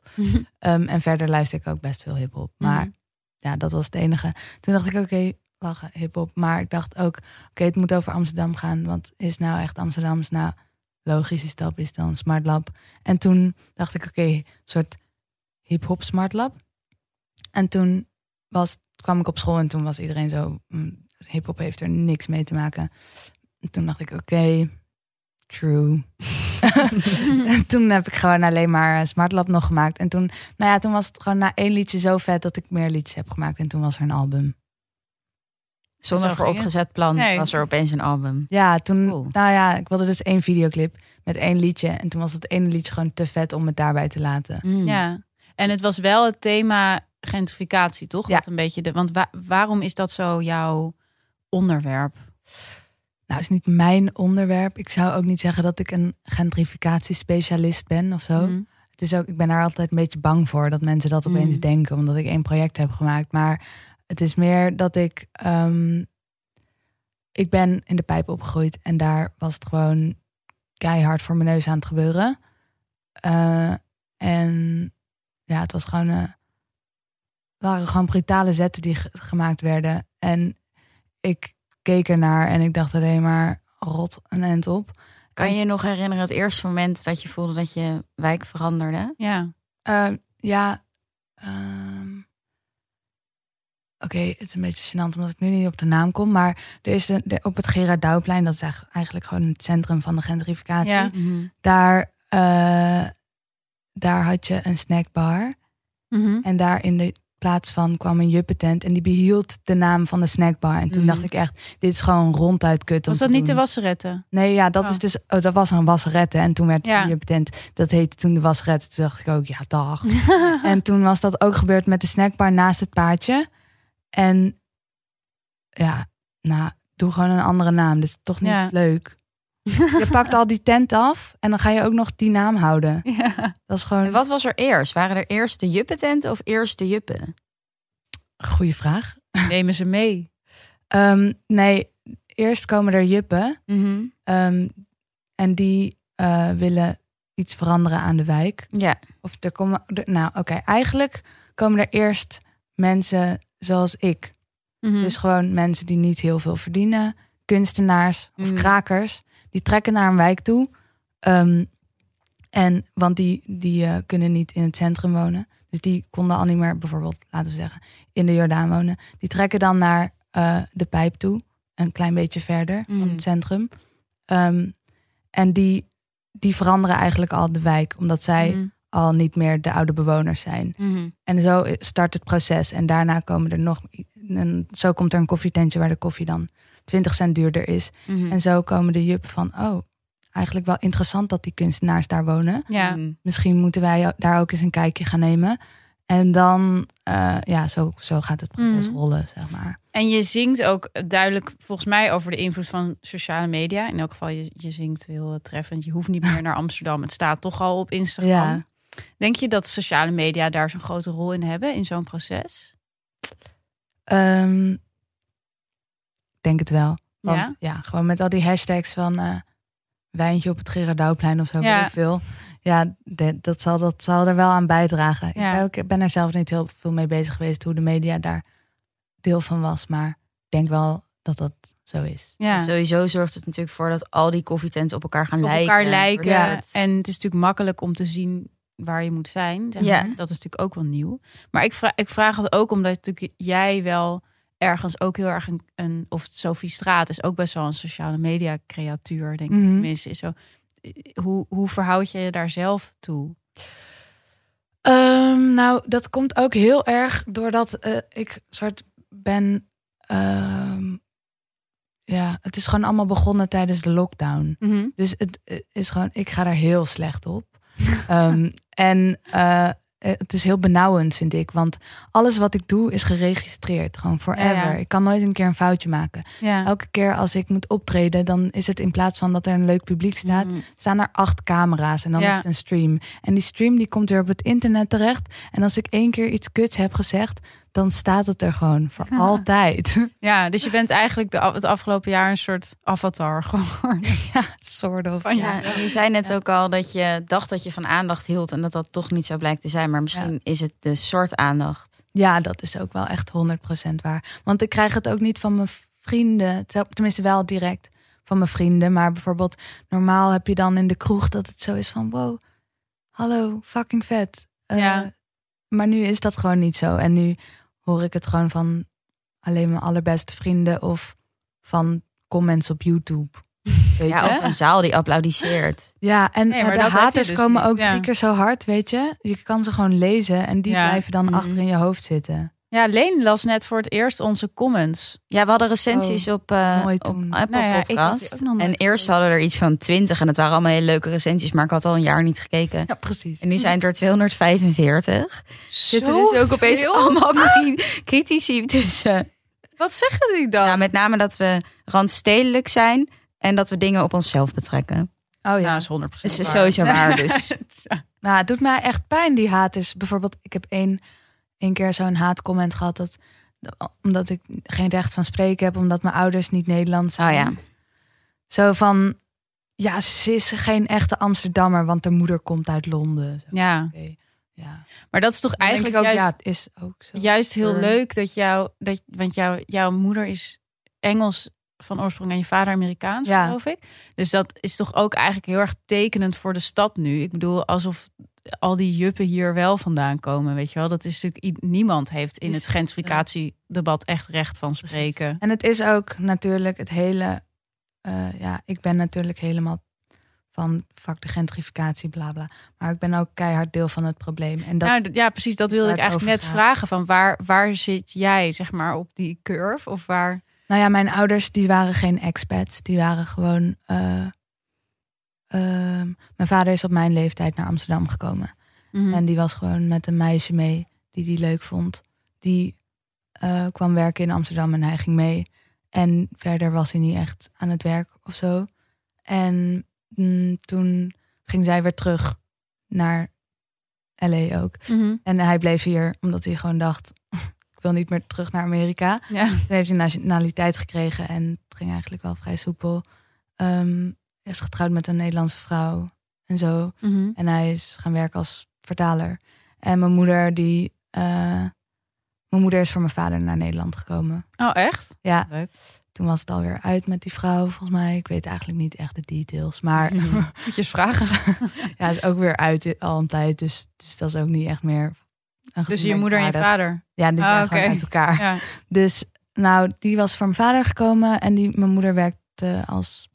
Speaker 2: Ehm en verder luister ik ook best veel hiphop. Maar
Speaker 3: Mhm.
Speaker 2: ja, dat was het enige. Toen dacht ik, oké, lachen, hiphop. Maar ik dacht ook, oké, het moet over Amsterdam gaan. Want is nou echt Amsterdams? Nou, logische stap is dan Smart Lab. En toen dacht ik, oké, een soort hiphop Smart Lab. En toen was, kwam ik op school en toen was iedereen zo... mm, hiphop heeft er niks mee te maken. En toen dacht ik, oké, true. *laughs* En toen heb ik gewoon alleen maar eh, Smart Lab nog gemaakt. En toen, nou ja, toen was het gewoon na één liedje zo vet dat ik meer liedjes heb gemaakt. En toen was er een album.
Speaker 1: Zonder
Speaker 3: Zo ging
Speaker 1: vooropgezet plan
Speaker 3: Nee.
Speaker 1: was er opeens een album.
Speaker 2: Ja, toen,
Speaker 1: Cool.
Speaker 2: nou ja, ik wilde dus één videoclip met één liedje. En toen was dat ene liedje gewoon te vet om het daarbij te laten.
Speaker 1: Mhm.
Speaker 3: Ja. En het was wel het thema gentrificatie, toch?
Speaker 2: Ja.
Speaker 3: Dat een beetje de, want wa- waarom is dat zo jouw onderwerp?
Speaker 2: Nou, is niet mijn onderwerp. Ik zou ook niet zeggen dat ik een gentrificatiespecialist ben of zo.
Speaker 3: Mhm.
Speaker 2: Het is ook, ik ben daar altijd een beetje bang voor dat mensen dat opeens
Speaker 1: Mm.
Speaker 2: denken, omdat ik één project heb gemaakt. Maar het is meer dat ik. ehm, ik ben in de pijp opgegroeid en daar was het gewoon keihard voor mijn neus aan het gebeuren. Eh, en ja, het was gewoon eh, waren gewoon brutale zetten die ge- gemaakt werden. En ik keek ernaar en ik dacht alleen maar rot een end op.
Speaker 1: Kan je je nog herinneren het eerste moment dat je voelde dat je wijk veranderde?
Speaker 3: Ja.
Speaker 2: Eh, ja. ehm, Oké, het is een beetje gênant omdat ik nu niet op de naam kom. Maar er is een- er- op het Gerard Douwplein, dat is echt- eigenlijk gewoon het centrum van de gentrificatie.
Speaker 3: Ja.
Speaker 2: Daar, eh, daar had je een snackbar. En daar in de plaats van kwam een juppentent. En die behield de naam van de snackbar. En toen
Speaker 1: Mhm.
Speaker 2: dacht ik echt, dit is gewoon ronduit kut om
Speaker 3: Mm. Was dat
Speaker 2: te
Speaker 3: niet de
Speaker 2: doen. *laughs*
Speaker 3: wasseretten?
Speaker 2: Nee, ja, dat
Speaker 3: Oh.
Speaker 2: is dus. Oh, dat was een wasrette. En toen werd het
Speaker 3: Ja.
Speaker 2: een juppentent. Dat heette toen de wasrette. Toen dacht ik ook, ja,
Speaker 3: *laughs*
Speaker 2: dag. en toen was dat ook gebeurd met de snackbar naast het paadje. En ja, nou, doe gewoon een andere naam. Dat is toch niet
Speaker 3: Ja.
Speaker 2: leuk.
Speaker 3: *laughs*
Speaker 2: Je pakt al die tent af en dan ga je ook nog die naam houden. Dat is gewoon
Speaker 1: En wat was er eerst? Waren er eerst de juppententen of eerst de juppen?
Speaker 2: een goede vraag.
Speaker 3: Nemen ze mee.
Speaker 2: Ehm, nee, eerst komen er juppen.
Speaker 1: Mhm.
Speaker 2: ehm, en die eh, willen iets veranderen aan de wijk.
Speaker 1: Ja.
Speaker 2: Of er komen. er- nou, oké. Eigenlijk komen er eerst mensen zoals ik.
Speaker 3: Hm. Mhm.
Speaker 2: Dus gewoon mensen die niet heel veel verdienen. Kunstenaars of
Speaker 1: Mm.
Speaker 2: krakers. Die trekken naar een wijk toe. Ehm, en, want die, die eh, kunnen niet in het centrum wonen. Dus die konden al niet meer, bijvoorbeeld, laten we zeggen, in de Jordaan wonen. Die trekken dan naar eh, de pijp toe. Een klein beetje verder van
Speaker 1: Mm.
Speaker 2: het centrum. Ehm, en die, die veranderen eigenlijk al de wijk. Omdat zij
Speaker 3: Mhm.
Speaker 2: al niet meer de oude bewoners zijn.
Speaker 1: Mhm.
Speaker 2: En zo start het proces. En daarna komen er nog. En zo komt er een koffietentje waar de koffie dan 20 cent duurder is.
Speaker 1: Mm. Mhm.
Speaker 2: En zo komen de juppen van. Oh, eigenlijk wel interessant dat die kunstenaars daar wonen.
Speaker 3: Ja.
Speaker 1: Mhm.
Speaker 2: Misschien moeten wij daar ook eens een kijkje gaan nemen. En dan, eh, ja, zo, zo gaat het proces
Speaker 3: Mhm.
Speaker 2: rollen, zeg maar.
Speaker 3: En je zingt ook duidelijk, volgens mij, over de invloed van sociale media. In elk geval, je, je zingt heel eh, treffend. Je hoeft niet meer naar Amsterdam. Het staat toch al op Instagram.
Speaker 2: Ja.
Speaker 3: Denk je dat sociale media daar zo'n grote rol in hebben in zo'n proces?
Speaker 2: Ehm, ik denk het wel. Want ja?
Speaker 3: ja.
Speaker 2: gewoon met al die hashtags van eh, wijntje op het Gerardouwplein of zo,
Speaker 3: Ja.
Speaker 2: weet ik veel. Ja, de- dat, zal, dat zal er wel aan bijdragen.
Speaker 3: Ja.
Speaker 2: Ik, ben ook, ik ben er zelf niet heel veel mee bezig geweest hoe de media daar deel van was. Maar ik denk wel dat dat zo is.
Speaker 3: Ja.
Speaker 1: Sowieso zorgt het natuurlijk voor dat al die koffietenten op elkaar gaan
Speaker 3: op
Speaker 1: lijken.
Speaker 3: elkaar lijken.
Speaker 1: Ja.
Speaker 3: En het is natuurlijk makkelijk om te zien waar je moet zijn. Zeg
Speaker 1: Ja.
Speaker 3: maar. Dat is natuurlijk ook wel nieuw. Maar ik vraag, ik vraag het ook omdat natuurlijk jij wel ergens ook heel erg een, een of Sophie Straat is ook best wel een sociale media creatuur, denk ik.
Speaker 2: Mhm.
Speaker 3: Tenminste, is zo. eh, Hoe, hoe verhoud je je daar zelf toe?
Speaker 2: Ehm, nou, dat komt ook heel erg doordat eh, ik soort ben. ehm, ja, het is gewoon allemaal begonnen tijdens de lockdown.
Speaker 3: Mhm.
Speaker 2: Dus het eh, is gewoon, ik ga daar heel slecht op. *laughs* Ehm, en eh, eh, het is heel benauwend, vind ik. Want alles wat ik doe is geregistreerd. Gewoon forever.
Speaker 3: Ja, ja.
Speaker 2: Ik kan nooit een keer een foutje maken.
Speaker 3: Ja.
Speaker 2: Elke keer als ik moet optreden, dan is het in plaats van dat er een leuk publiek staat,
Speaker 1: Mm.
Speaker 2: staan er acht camera's en dan
Speaker 3: Mhm. Ja.
Speaker 2: is het een stream. En die stream die komt weer op het internet terecht. En als ik één keer iets kuts heb gezegd, dan staat het er gewoon
Speaker 3: *laughs*
Speaker 2: voor altijd.
Speaker 3: ja, dus je bent eigenlijk de, af- het afgelopen jaar een soort avatar *laughs* geworden.
Speaker 2: ja, soort of.
Speaker 3: Van je
Speaker 1: Ja, en je zei net ook al dat je dacht dat je van aandacht hield en dat dat toch niet zo blijkt te zijn. Maar misschien is het de soort aandacht.
Speaker 2: Ja, dat is ook wel echt 100% waar. Want ik krijg het ook niet van mijn vrienden. Ter- Tenminste, wel direct van mijn vrienden. Maar bijvoorbeeld, normaal heb je dan in de kroeg dat het zo is van: wow, hallo, fucking vet. Eh,
Speaker 3: Ja.
Speaker 2: Maar nu is dat gewoon niet zo. En nu hoor ik het gewoon van alleen mijn allerbeste vrienden of van comments op YouTube. Weet
Speaker 1: Ja,
Speaker 2: je?
Speaker 1: of een zaal die applaudisseert.
Speaker 2: Ja, en
Speaker 3: Nee, maar
Speaker 2: eh, de
Speaker 3: dat heb je
Speaker 2: haters
Speaker 3: dus
Speaker 2: komen
Speaker 3: niet,
Speaker 2: ook
Speaker 3: ja.
Speaker 2: drie keer zo hard, weet je. Je kan ze gewoon lezen en die
Speaker 3: Ja.
Speaker 2: blijven dan
Speaker 1: Mhm.
Speaker 2: achter in je hoofd zitten.
Speaker 3: Ja, Leen las net voor het eerst onze comments.
Speaker 1: Ja, we hadden recensies op, eh
Speaker 2: mooi
Speaker 1: op
Speaker 2: toen.
Speaker 1: Apple
Speaker 3: Nou ja, ik had die ook
Speaker 1: Podcast.
Speaker 3: nog nooit
Speaker 1: En eerst
Speaker 3: gelezen.
Speaker 1: hadden we er iets van 20 en het waren allemaal hele leuke recensies, maar ik had al een jaar niet gekeken.
Speaker 2: Ja, precies.
Speaker 1: En nu zijn het er 245. Zitten dus ook opeens
Speaker 3: Zoveel?
Speaker 1: allemaal kri- critici tussen.
Speaker 3: Wat zeggen die dan?
Speaker 1: Nou, met name dat we randstedelijk zijn en dat we dingen op onszelf betrekken.
Speaker 2: Oh
Speaker 3: Ja,
Speaker 2: ja.
Speaker 3: is 100
Speaker 1: Dus dat is sowieso waar.
Speaker 3: *laughs*
Speaker 1: Dus
Speaker 2: Nou, het doet mij echt pijn, die haters. Bijvoorbeeld, ik heb één, één keer zo'n haatcomment gehad. Dat, omdat ik geen recht van spreken heb, omdat mijn ouders niet Nederlands
Speaker 1: oh
Speaker 2: zijn.
Speaker 1: ja.
Speaker 2: Zo van, ja, ze is geen echte Amsterdammer, want haar moeder komt uit Londen. Zo,
Speaker 3: Ja,
Speaker 2: oké. Ja.
Speaker 3: Maar dat is toch
Speaker 2: Dan denk
Speaker 3: eigenlijk
Speaker 2: ik ook,
Speaker 3: juist,
Speaker 2: ja, het is ook zo.
Speaker 3: juist heel
Speaker 2: Sure.
Speaker 3: leuk dat jou, dat, want jou, jouw moeder is Engels van oorsprong en je vader Amerikaans,
Speaker 2: Ja.
Speaker 3: geloof ik. Dus dat is toch ook eigenlijk heel erg tekenend voor de stad nu. Ik bedoel, alsof al die juppen hier wel vandaan komen, weet je wel. Dat is natuurlijk, i- niemand heeft in
Speaker 2: Is-
Speaker 3: het gentrificatiedebat echt recht van spreken.
Speaker 2: En het is ook natuurlijk het hele. eh, ja, ik ben natuurlijk helemaal van vak de gentrificatie, bla bla. Maar ik ben ook keihard deel van het probleem. En dat,
Speaker 3: nou, d- ja, precies. Dat
Speaker 2: is
Speaker 3: wilde ik
Speaker 2: waar het
Speaker 3: eigenlijk net
Speaker 2: over gaat.
Speaker 3: vragen. Van waar, waar zit jij, zeg maar, op die curve? Of waar...
Speaker 2: nou ja, mijn ouders die waren geen expats. Die waren gewoon. eh, ehm, mijn vader is op mijn leeftijd naar Amsterdam gekomen.
Speaker 3: Hm.
Speaker 2: En die was gewoon met een meisje mee die die leuk vond. Die eh, kwam werken in Amsterdam en hij ging mee. En verder was hij niet echt aan het werk of zo. En mm, toen ging zij weer terug naar LA ook.
Speaker 3: Mhm.
Speaker 2: En hij bleef hier omdat hij gewoon dacht: *laughs* ik wil niet meer terug naar Amerika.
Speaker 3: Ja.
Speaker 2: Toen heeft hij nationaliteit gekregen en het ging eigenlijk wel vrij soepel. Ehm, hij is getrouwd met een Nederlandse vrouw en zo.
Speaker 3: Mhm.
Speaker 2: En hij is gaan werken als vertaler. En mijn moeder, die. eh, mijn moeder is voor mijn vader naar Nederland gekomen.
Speaker 3: Oh, echt?
Speaker 2: Ja.
Speaker 3: Leuk.
Speaker 2: Toen was het alweer uit met die vrouw, volgens mij. Ik weet eigenlijk niet echt de
Speaker 3: *laughs*
Speaker 2: details. Maar
Speaker 3: Moet je eens
Speaker 2: *laughs*
Speaker 3: vragen.
Speaker 2: ja, het is ook weer uit al een tijd. Dus, dus dat is ook niet echt meer. een
Speaker 3: Dus je moeder en je
Speaker 2: gemeenswaardig-
Speaker 3: vader.
Speaker 2: Ja, die
Speaker 3: Ah,
Speaker 2: zijn
Speaker 3: oké.
Speaker 2: gewoon uit elkaar.
Speaker 3: Ja.
Speaker 2: Dus nou, die was voor mijn vader gekomen. En die, mijn moeder werkte als.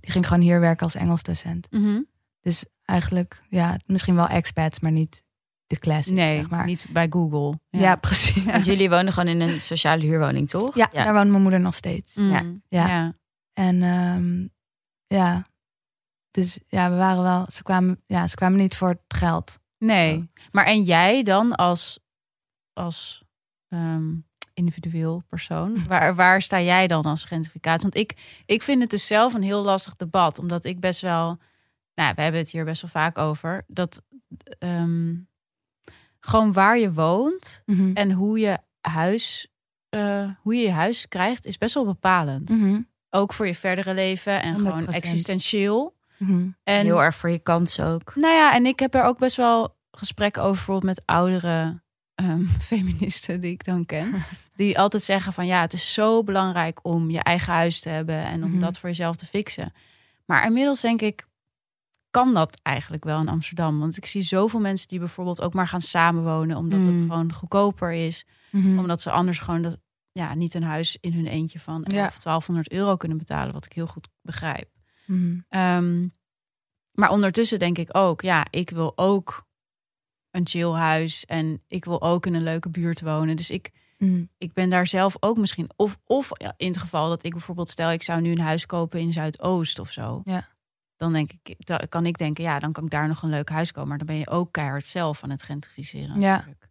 Speaker 2: Die ging gewoon hier werken als Engels docent.
Speaker 3: mhm.
Speaker 2: Dus eigenlijk, ja, misschien wel expats, maar niet de classics,
Speaker 3: Nee,
Speaker 2: zeg maar.
Speaker 3: niet bij Google.
Speaker 2: Ja, precies.
Speaker 1: Want jullie wonen gewoon in een sociale huurwoning, toch?
Speaker 2: Ja, daar woont mijn moeder nog steeds.
Speaker 3: Mm.
Speaker 1: Ja.
Speaker 2: Ja.
Speaker 3: Ja.
Speaker 2: En ehm, ja, dus ja, we waren wel, ze kwamen, ja, ze kwamen niet voor het geld.
Speaker 3: Nee. Maar en jij dan als, als ehm, individueel
Speaker 2: *laughs*
Speaker 3: persoon? Waar, waar sta jij dan als gentrificatie? Want ik, ik vind het dus zelf een heel lastig debat. Omdat ik best wel... Nou, we hebben het hier best wel vaak over. Dat ehm, gewoon waar je woont...
Speaker 2: En,
Speaker 3: en hoe je huis, eh, hoe je, je huis krijgt, is best wel
Speaker 2: Mm.
Speaker 3: bepalend.
Speaker 2: Mhm.
Speaker 3: Ook voor je verdere leven en gewoon
Speaker 2: 100%.
Speaker 3: existentieel.
Speaker 2: Mhm.
Speaker 3: En,
Speaker 1: Heel erg voor je kans ook.
Speaker 3: Nou ja, en ik heb er ook best wel gesprekken over, bijvoorbeeld met oudere ehm, *laughs* feministen die ik dan
Speaker 2: *laughs*
Speaker 3: ken. Die altijd zeggen van ja, het is zo belangrijk om je eigen huis te hebben en om
Speaker 2: Mhm.
Speaker 3: dat voor jezelf te fixen. Maar inmiddels denk ik, kan dat eigenlijk wel in Amsterdam? Want ik zie zoveel mensen die bijvoorbeeld ook maar gaan samenwonen omdat het
Speaker 1: Mm.
Speaker 3: gewoon goedkoper is.
Speaker 2: Omdat,
Speaker 3: Omdat ze anders gewoon dat, ja, niet een huis in hun eentje van 11,
Speaker 2: Ja.
Speaker 3: 1200 euro kunnen betalen. Wat ik heel goed begrijp.
Speaker 2: Mhm.
Speaker 3: Ehm, maar ondertussen denk ik ook, ja, ik wil ook een chill huis. En ik wil ook in een leuke buurt wonen. Dus ik,
Speaker 2: Mhm.
Speaker 3: ik ben daar zelf ook misschien. Of, of ja, in het geval dat ik bijvoorbeeld stel, ik zou nu een huis kopen in Zuidoost of zo.
Speaker 2: Ja.
Speaker 3: Dan denk ik, dan kan ik denken, ja, dan kan ik daar nog een leuk huis kopen. Maar dan ben je ook keihard zelf aan het gentrificeren.
Speaker 2: Ja.
Speaker 3: natuurlijk.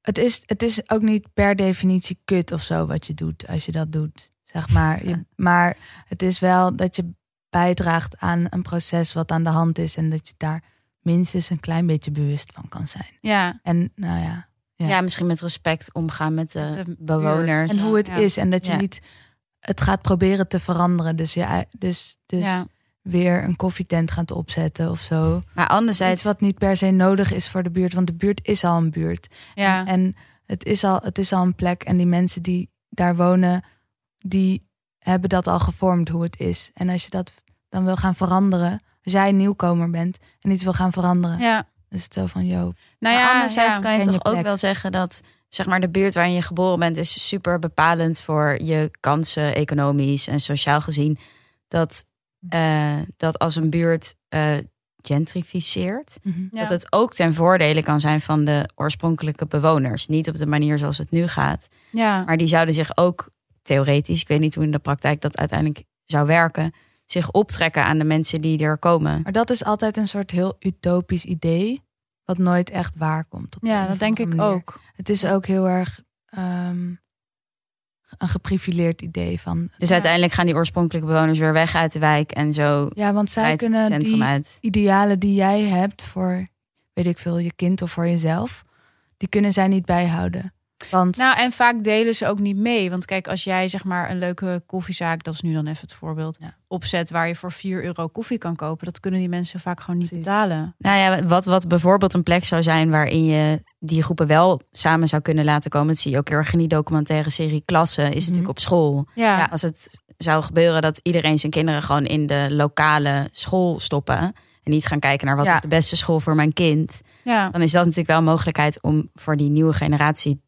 Speaker 2: Het, is, het is ook niet per definitie kut of zo wat je doet, als je dat doet, zeg maar. Je, maar het is wel dat je bijdraagt aan een proces wat aan de hand is en dat je daar minstens een klein beetje bewust van kan zijn.
Speaker 3: ja.
Speaker 2: En nou ja,
Speaker 1: Ja.
Speaker 2: Ja.
Speaker 1: misschien met respect omgaan met de,
Speaker 3: Met de
Speaker 1: bewoners.
Speaker 3: buurt.
Speaker 2: En hoe het
Speaker 3: Ja.
Speaker 2: is. En dat je
Speaker 1: Ja.
Speaker 2: niet het gaat proberen te veranderen. Dus, ja, dus, dus
Speaker 3: Ja.
Speaker 2: weer een koffietent gaat opzetten of zo.
Speaker 1: Maar
Speaker 2: Iets
Speaker 1: anderzijds,
Speaker 2: wat niet per se nodig is voor de buurt. Want de buurt is al een buurt.
Speaker 3: Ja.
Speaker 2: En het is, al, het is al een plek. En die mensen die daar wonen, die hebben dat al gevormd hoe het is. En als je dat dan wil gaan veranderen. Als jij een nieuwkomer bent en iets wil gaan veranderen.
Speaker 3: ja.
Speaker 2: Dus het zo van, joh.
Speaker 3: Nou
Speaker 1: maar
Speaker 3: ja,
Speaker 1: anderzijds
Speaker 3: ja.
Speaker 1: kan je
Speaker 2: ken je
Speaker 1: toch ook
Speaker 2: plek.
Speaker 1: wel zeggen dat zeg maar, de buurt waarin je geboren bent is super bepalend voor je kansen, economisch en sociaal gezien. Dat,
Speaker 3: Mhm.
Speaker 1: eh, dat als een buurt eh, gentrificeert,
Speaker 2: Mhm.
Speaker 3: Ja.
Speaker 1: dat het ook ten voordele kan zijn van de oorspronkelijke bewoners. Niet op de manier zoals het nu gaat.
Speaker 3: ja.
Speaker 1: Maar die zouden zich ook theoretisch, ik weet niet hoe in de praktijk dat uiteindelijk zou werken, zich optrekken aan de mensen die er komen.
Speaker 2: Maar dat is altijd een soort heel utopisch idee. Wat nooit echt waar komt. op de
Speaker 3: ja,
Speaker 2: een
Speaker 3: dat
Speaker 2: of
Speaker 3: denk
Speaker 2: andere
Speaker 3: ik
Speaker 2: manier.
Speaker 3: ook.
Speaker 2: Het is ook heel erg ehm, een geprivileerd idee van.
Speaker 1: Dus
Speaker 3: Ja.
Speaker 1: uiteindelijk gaan die oorspronkelijke bewoners weer weg uit de wijk en zo
Speaker 2: Ja, want zij
Speaker 1: uit het
Speaker 2: kunnen
Speaker 1: centrum
Speaker 2: die
Speaker 1: uit.
Speaker 2: idealen die jij hebt voor, weet ik veel, je kind of voor jezelf, die kunnen zij niet bijhouden. Want
Speaker 3: Nou, en vaak delen ze ook niet mee. Want kijk, als jij zeg maar een leuke koffiezaak, dat is nu dan even het voorbeeld,
Speaker 2: Ja.
Speaker 3: opzet waar je voor 4 euro koffie kan kopen, dat kunnen die mensen vaak gewoon niet
Speaker 2: Precies.
Speaker 3: betalen.
Speaker 1: Nou ja, wat, wat bijvoorbeeld een plek zou zijn waarin je die groepen wel samen zou kunnen laten komen. Dat zie je ook heel erg in die documentaire serie Klassen. Is natuurlijk op school.
Speaker 3: Mhm. Ja,
Speaker 1: Ja, als het zou gebeuren dat iedereen zijn kinderen gewoon in de lokale school stoppen. En niet gaan kijken naar wat
Speaker 2: Ja.
Speaker 1: is de beste school voor mijn kind.
Speaker 3: ja.
Speaker 1: Dan is dat natuurlijk wel een mogelijkheid om voor die nieuwe generatie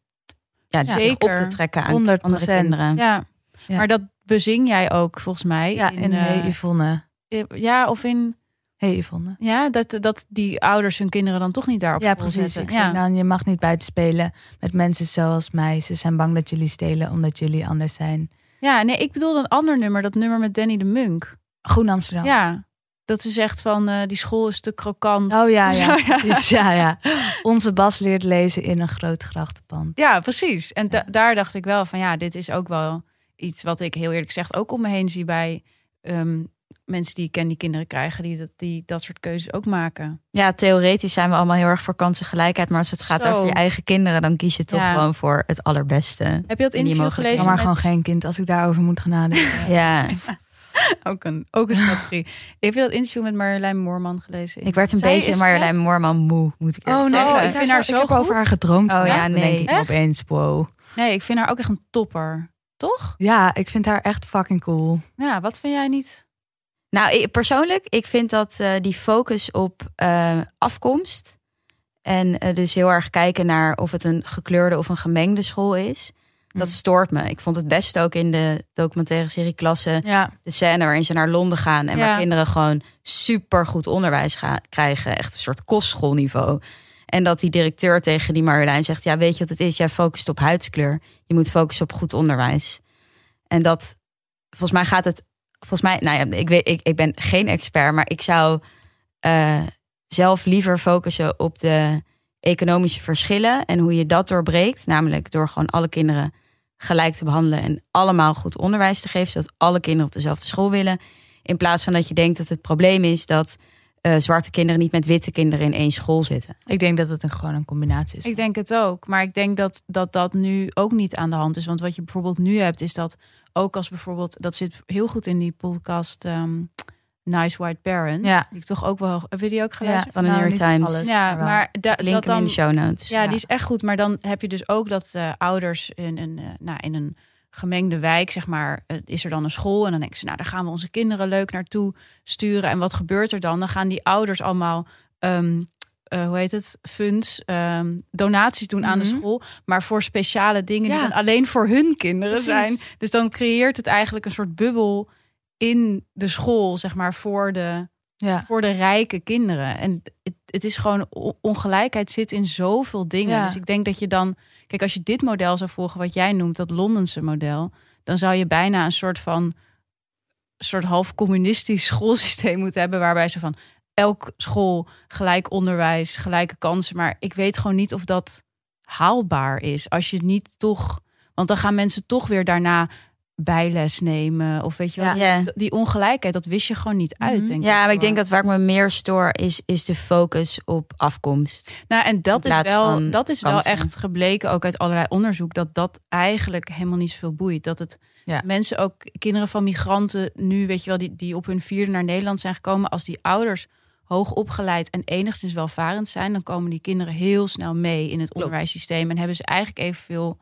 Speaker 1: ja,
Speaker 3: Ja.
Speaker 1: zich op
Speaker 3: Zeker.
Speaker 1: te trekken aan
Speaker 2: 100%.
Speaker 1: andere kinderen.
Speaker 3: ja.
Speaker 2: Ja.
Speaker 3: Maar dat bezing jij ook volgens mij.
Speaker 2: ja, en
Speaker 3: eh,
Speaker 2: hey Yvonne.
Speaker 3: ja, of in
Speaker 2: Hey Yvonne.
Speaker 3: ja, dat, dat die ouders hun kinderen dan toch niet daarop
Speaker 2: Ja,
Speaker 3: school
Speaker 2: precies.
Speaker 3: zetten.
Speaker 2: Ik
Speaker 3: ja.
Speaker 2: zeg nou- dan, je mag niet buiten spelen met mensen zoals mij. Ze zijn bang dat jullie stelen omdat jullie anders zijn.
Speaker 3: ja, nee, ik bedoel een ander nummer, dat nummer met Danny de Munk.
Speaker 2: Groen Amsterdam.
Speaker 3: Ja, dat is echt van eh, die school is te krokant.
Speaker 2: Oh
Speaker 3: *laughs*
Speaker 2: ja, ja,
Speaker 3: Zo, ja.
Speaker 2: precies. Ja, ja. Onze Bas leert lezen in een groot grachtenpand.
Speaker 3: Ja, precies. En da-
Speaker 2: Ja.
Speaker 3: daar dacht ik wel van ja, dit is ook wel iets wat ik heel eerlijk gezegd ook om me heen zie bij ehm, mensen die ik ken die kinderen krijgen, die dat, die dat soort keuzes ook maken.
Speaker 1: Ja, theoretisch zijn we allemaal heel erg voor kansengelijkheid. Maar als het gaat
Speaker 3: Zo.
Speaker 1: over je eigen kinderen, dan kies je toch
Speaker 3: Ja.
Speaker 1: gewoon voor het allerbeste.
Speaker 3: Heb
Speaker 1: En
Speaker 3: je dat
Speaker 1: die
Speaker 3: interview
Speaker 1: mogelijkheden.
Speaker 3: gelezen?
Speaker 2: Maar
Speaker 3: met-
Speaker 2: gewoon geen kind als ik daarover moet gaan nadenken.
Speaker 1: Ja,
Speaker 3: ook, een, ook een strategie. *laughs* Heb je dat interview met Marjolein Moorman gelezen?
Speaker 1: ik werd een
Speaker 3: Zij
Speaker 1: beetje
Speaker 3: is
Speaker 1: Marjolein
Speaker 3: vet.
Speaker 1: Moorman moe, moet ik eerlijk
Speaker 3: Oh, nee.
Speaker 1: zeggen.
Speaker 3: ik vind haar zo
Speaker 2: Ik heb
Speaker 3: goed.
Speaker 2: over haar gedroomd.
Speaker 1: Oh,
Speaker 2: vandaag.
Speaker 1: ja,
Speaker 2: Dan denk
Speaker 1: nee.
Speaker 2: ik
Speaker 3: Echt?
Speaker 2: opeens, wow.
Speaker 3: Nee, ik vind haar ook echt een topper. Toch?
Speaker 2: Ja, ik vind haar echt fucking cool.
Speaker 3: Ja, wat vind jij niet?
Speaker 1: Nou, ik- persoonlijk, ik vind dat eh, die focus op eh, afkomst. En eh, dus heel erg kijken naar of het een gekleurde of een gemengde school is. Dat
Speaker 2: Mm.
Speaker 1: stoort me. Ik vond het best ook in de documentaire serie Klassen.
Speaker 3: Ja,
Speaker 1: De scène waarin ze naar Londen gaan. En
Speaker 3: Ja.
Speaker 1: waar kinderen gewoon super goed onderwijs ga- krijgen. Echt een soort kostschoolniveau. En dat die directeur tegen die Marjolein zegt: Ja, weet je wat het is? Jij focust op huidskleur. Je moet focussen op goed onderwijs. En dat, volgens mij gaat het. Volgens mij, nou ja, ik, weet, ik, ik ben geen expert, maar ik zou eh, zelf liever focussen op de economische verschillen en hoe je dat doorbreekt. Namelijk door gewoon alle kinderen gelijk te behandelen en allemaal goed onderwijs te geven, zodat alle kinderen op dezelfde school willen. In plaats van dat je denkt dat het probleem is dat eh, zwarte kinderen niet met witte kinderen in één school zitten.
Speaker 2: Ik denk dat het een, gewoon een combinatie is.
Speaker 3: Ik denk het ook. Maar ik denk dat, dat dat nu ook niet aan de hand is. Want wat je bijvoorbeeld nu hebt, is dat ook als bijvoorbeeld... Dat zit heel goed in die podcast ehm, Nice White Parents.
Speaker 2: Ja.
Speaker 3: Die ik toch ook wel... Heb je die ook geluisterd?
Speaker 1: Van de
Speaker 2: Nou,
Speaker 1: New York
Speaker 2: niet
Speaker 1: Times.
Speaker 2: alles,
Speaker 3: Ja,
Speaker 2: wel.
Speaker 3: maar da-
Speaker 1: Link
Speaker 3: dat
Speaker 1: hem in
Speaker 3: dan...
Speaker 1: de show notes.
Speaker 3: Ja,
Speaker 2: Ja.
Speaker 3: die is echt goed. Maar dan heb je dus ook dat eh, ouders in een, eh, nou, in een gemengde wijk, zeg maar, eh, is er dan een school. En dan denken ze, nou, daar gaan we onze kinderen leuk naartoe sturen. En wat gebeurt er dan? Dan gaan die ouders allemaal, ehm, eh, hoe heet het, funds, ehm, donaties doen aan de
Speaker 2: Mhm.
Speaker 3: school. Maar voor speciale dingen die
Speaker 2: Ja.
Speaker 3: dan alleen voor hun kinderen
Speaker 2: Precies.
Speaker 3: zijn. Dus dan creëert het eigenlijk een soort bubbel in de school, zeg maar, voor de
Speaker 2: Ja.
Speaker 3: voor de rijke kinderen. En het, het is gewoon o- ongelijkheid zit in zoveel dingen.
Speaker 2: Ja.
Speaker 3: Dus ik denk dat je dan, kijk, als je dit model zou volgen wat jij noemt, dat Londense model, dan zou je bijna een soort van soort half communistisch *laughs* schoolsysteem moeten hebben, waarbij ze van elk school gelijk onderwijs, gelijke kansen. Maar ik weet gewoon niet of dat haalbaar is als je niet toch, want dan gaan mensen toch weer daarna bijles nemen of weet je wel.
Speaker 2: Ja.
Speaker 1: Ja.
Speaker 3: Die ongelijkheid, dat wist je gewoon niet uit,
Speaker 2: Mhm.
Speaker 3: denk ik.
Speaker 1: Ja, maar ik
Speaker 3: gewoon.
Speaker 1: denk dat waar ik me meer stoor is, is de focus op afkomst.
Speaker 3: Nou, en dat
Speaker 1: In
Speaker 3: is,
Speaker 1: plaats
Speaker 3: wel,
Speaker 1: van
Speaker 3: dat is wel
Speaker 1: kansen.
Speaker 3: echt gebleken, ook uit allerlei onderzoek, dat dat eigenlijk helemaal niet zoveel boeit. Dat het
Speaker 2: Ja.
Speaker 3: mensen ook, kinderen van migranten nu, weet je wel, die, die op hun vierde naar Nederland zijn gekomen, als die ouders hoog opgeleid en enigszins welvarend zijn, dan komen die kinderen heel snel mee in het onderwijssysteem en hebben ze eigenlijk evenveel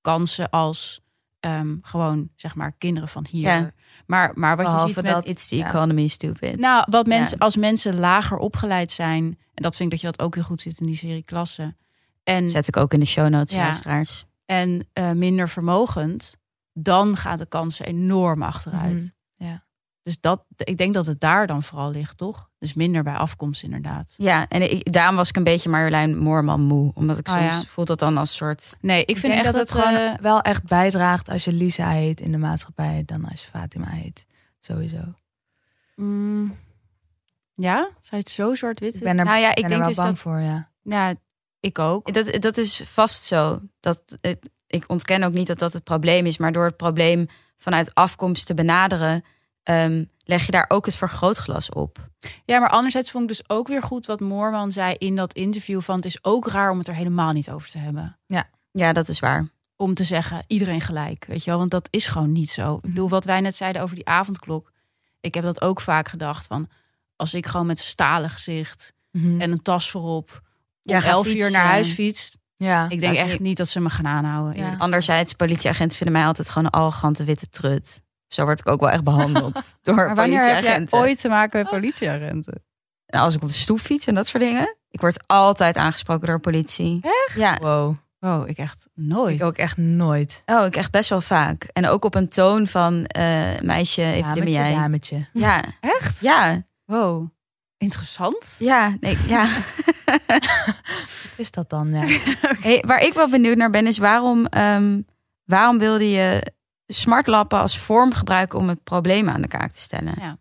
Speaker 3: kansen als ehm, gewoon, zeg maar, kinderen van hier.
Speaker 1: Ja.
Speaker 3: Maar, maar wat
Speaker 2: Behalve
Speaker 3: je ziet met
Speaker 2: dat-
Speaker 1: It's the
Speaker 2: ja.
Speaker 1: economy, stupid.
Speaker 3: nou, wat mensen,
Speaker 1: Ja.
Speaker 3: als mensen lager opgeleid zijn, en dat vind ik dat je dat ook heel goed ziet in die serie klassen. En,
Speaker 1: Zet ik ook in de show notes,
Speaker 3: Ja.
Speaker 1: luisteraars.
Speaker 3: en eh, minder vermogend, dan gaan de kansen enorm achteruit.
Speaker 2: Mhm, ja.
Speaker 3: Dus dat, ik denk dat het daar dan vooral ligt, toch? Dus minder bij afkomst, inderdaad.
Speaker 1: Ja, en ik, daarom was ik een beetje Marjolein Moorman moe. Omdat ik
Speaker 3: Oh,
Speaker 1: soms
Speaker 3: ja.
Speaker 1: voel dat dan als soort...
Speaker 3: Nee, ik, vind
Speaker 2: denk
Speaker 3: echt
Speaker 2: dat
Speaker 3: dat,
Speaker 2: het gewoon
Speaker 3: eh,
Speaker 2: wel echt bijdraagt als je Lisa heet in de maatschappij dan als je Fatima heet. Sowieso.
Speaker 3: mm, ja, zou je het zo zwart-wit?
Speaker 2: Ik ben er,
Speaker 1: Nou ja, ik
Speaker 2: ben er
Speaker 1: denk
Speaker 2: wel
Speaker 1: dus
Speaker 2: bang
Speaker 1: dat,
Speaker 2: voor, ja.
Speaker 3: Ja, ik ook.
Speaker 1: dat... Dat is vast zo. Dat, het- ik ontken ook niet dat dat het probleem is. Maar door het probleem vanuit afkomst te benaderen... ehm, leg je daar ook het vergrootglas op.
Speaker 3: Ja, maar anderzijds vond ik dus ook weer goed wat Moorman zei in dat interview van het is ook raar om het er helemaal niet over te hebben.
Speaker 2: Ja.
Speaker 1: Ja, dat is waar.
Speaker 3: om te zeggen iedereen gelijk, weet je wel? Want dat is gewoon niet zo. Ik bedoel, wat wij net zeiden over die avondklok. Ik heb dat ook vaak gedacht van als ik gewoon met een stalen gezicht
Speaker 2: Mhm.
Speaker 3: en een tas voorop om
Speaker 1: Hm. Ja, ga
Speaker 3: elf uur
Speaker 1: fietsen.
Speaker 3: naar huis fiets.
Speaker 2: ja.
Speaker 3: Ik denk
Speaker 1: Ja,
Speaker 3: echt
Speaker 1: ze-
Speaker 3: niet dat ze me gaan aanhouden.
Speaker 2: Ja.
Speaker 3: eerlijk.
Speaker 1: Anderzijds, politieagenten vinden mij altijd gewoon een arrogante witte trut. Zo word ik ook wel echt behandeld door
Speaker 3: Maar wanneer heb jij
Speaker 1: politieagenten. Oh.
Speaker 3: ooit te maken met politieagenten?
Speaker 1: En als ik op de stoep fiets en dat soort dingen. Ik word altijd aangesproken door politie. Echt? Ja.
Speaker 2: Wow.
Speaker 3: Oh, ik echt nooit.
Speaker 2: Ik ook echt nooit.
Speaker 1: Oh, ik echt best wel vaak. En ook op een toon van eh, meisje, even wie ben
Speaker 2: Dametje,
Speaker 1: jij?
Speaker 2: dametje.
Speaker 1: Ja,
Speaker 3: Echt?
Speaker 1: ja,
Speaker 3: Wow. Interessant.
Speaker 1: *laughs* ja, nee, ja.
Speaker 2: Wat is dat dan? Ja.
Speaker 1: Hey, waar ik wel benieuwd naar ben, is waarom, ehm, waarom wilde je smartlappen als vorm gebruiken om het probleem aan de kaak te stellen?
Speaker 3: Ja.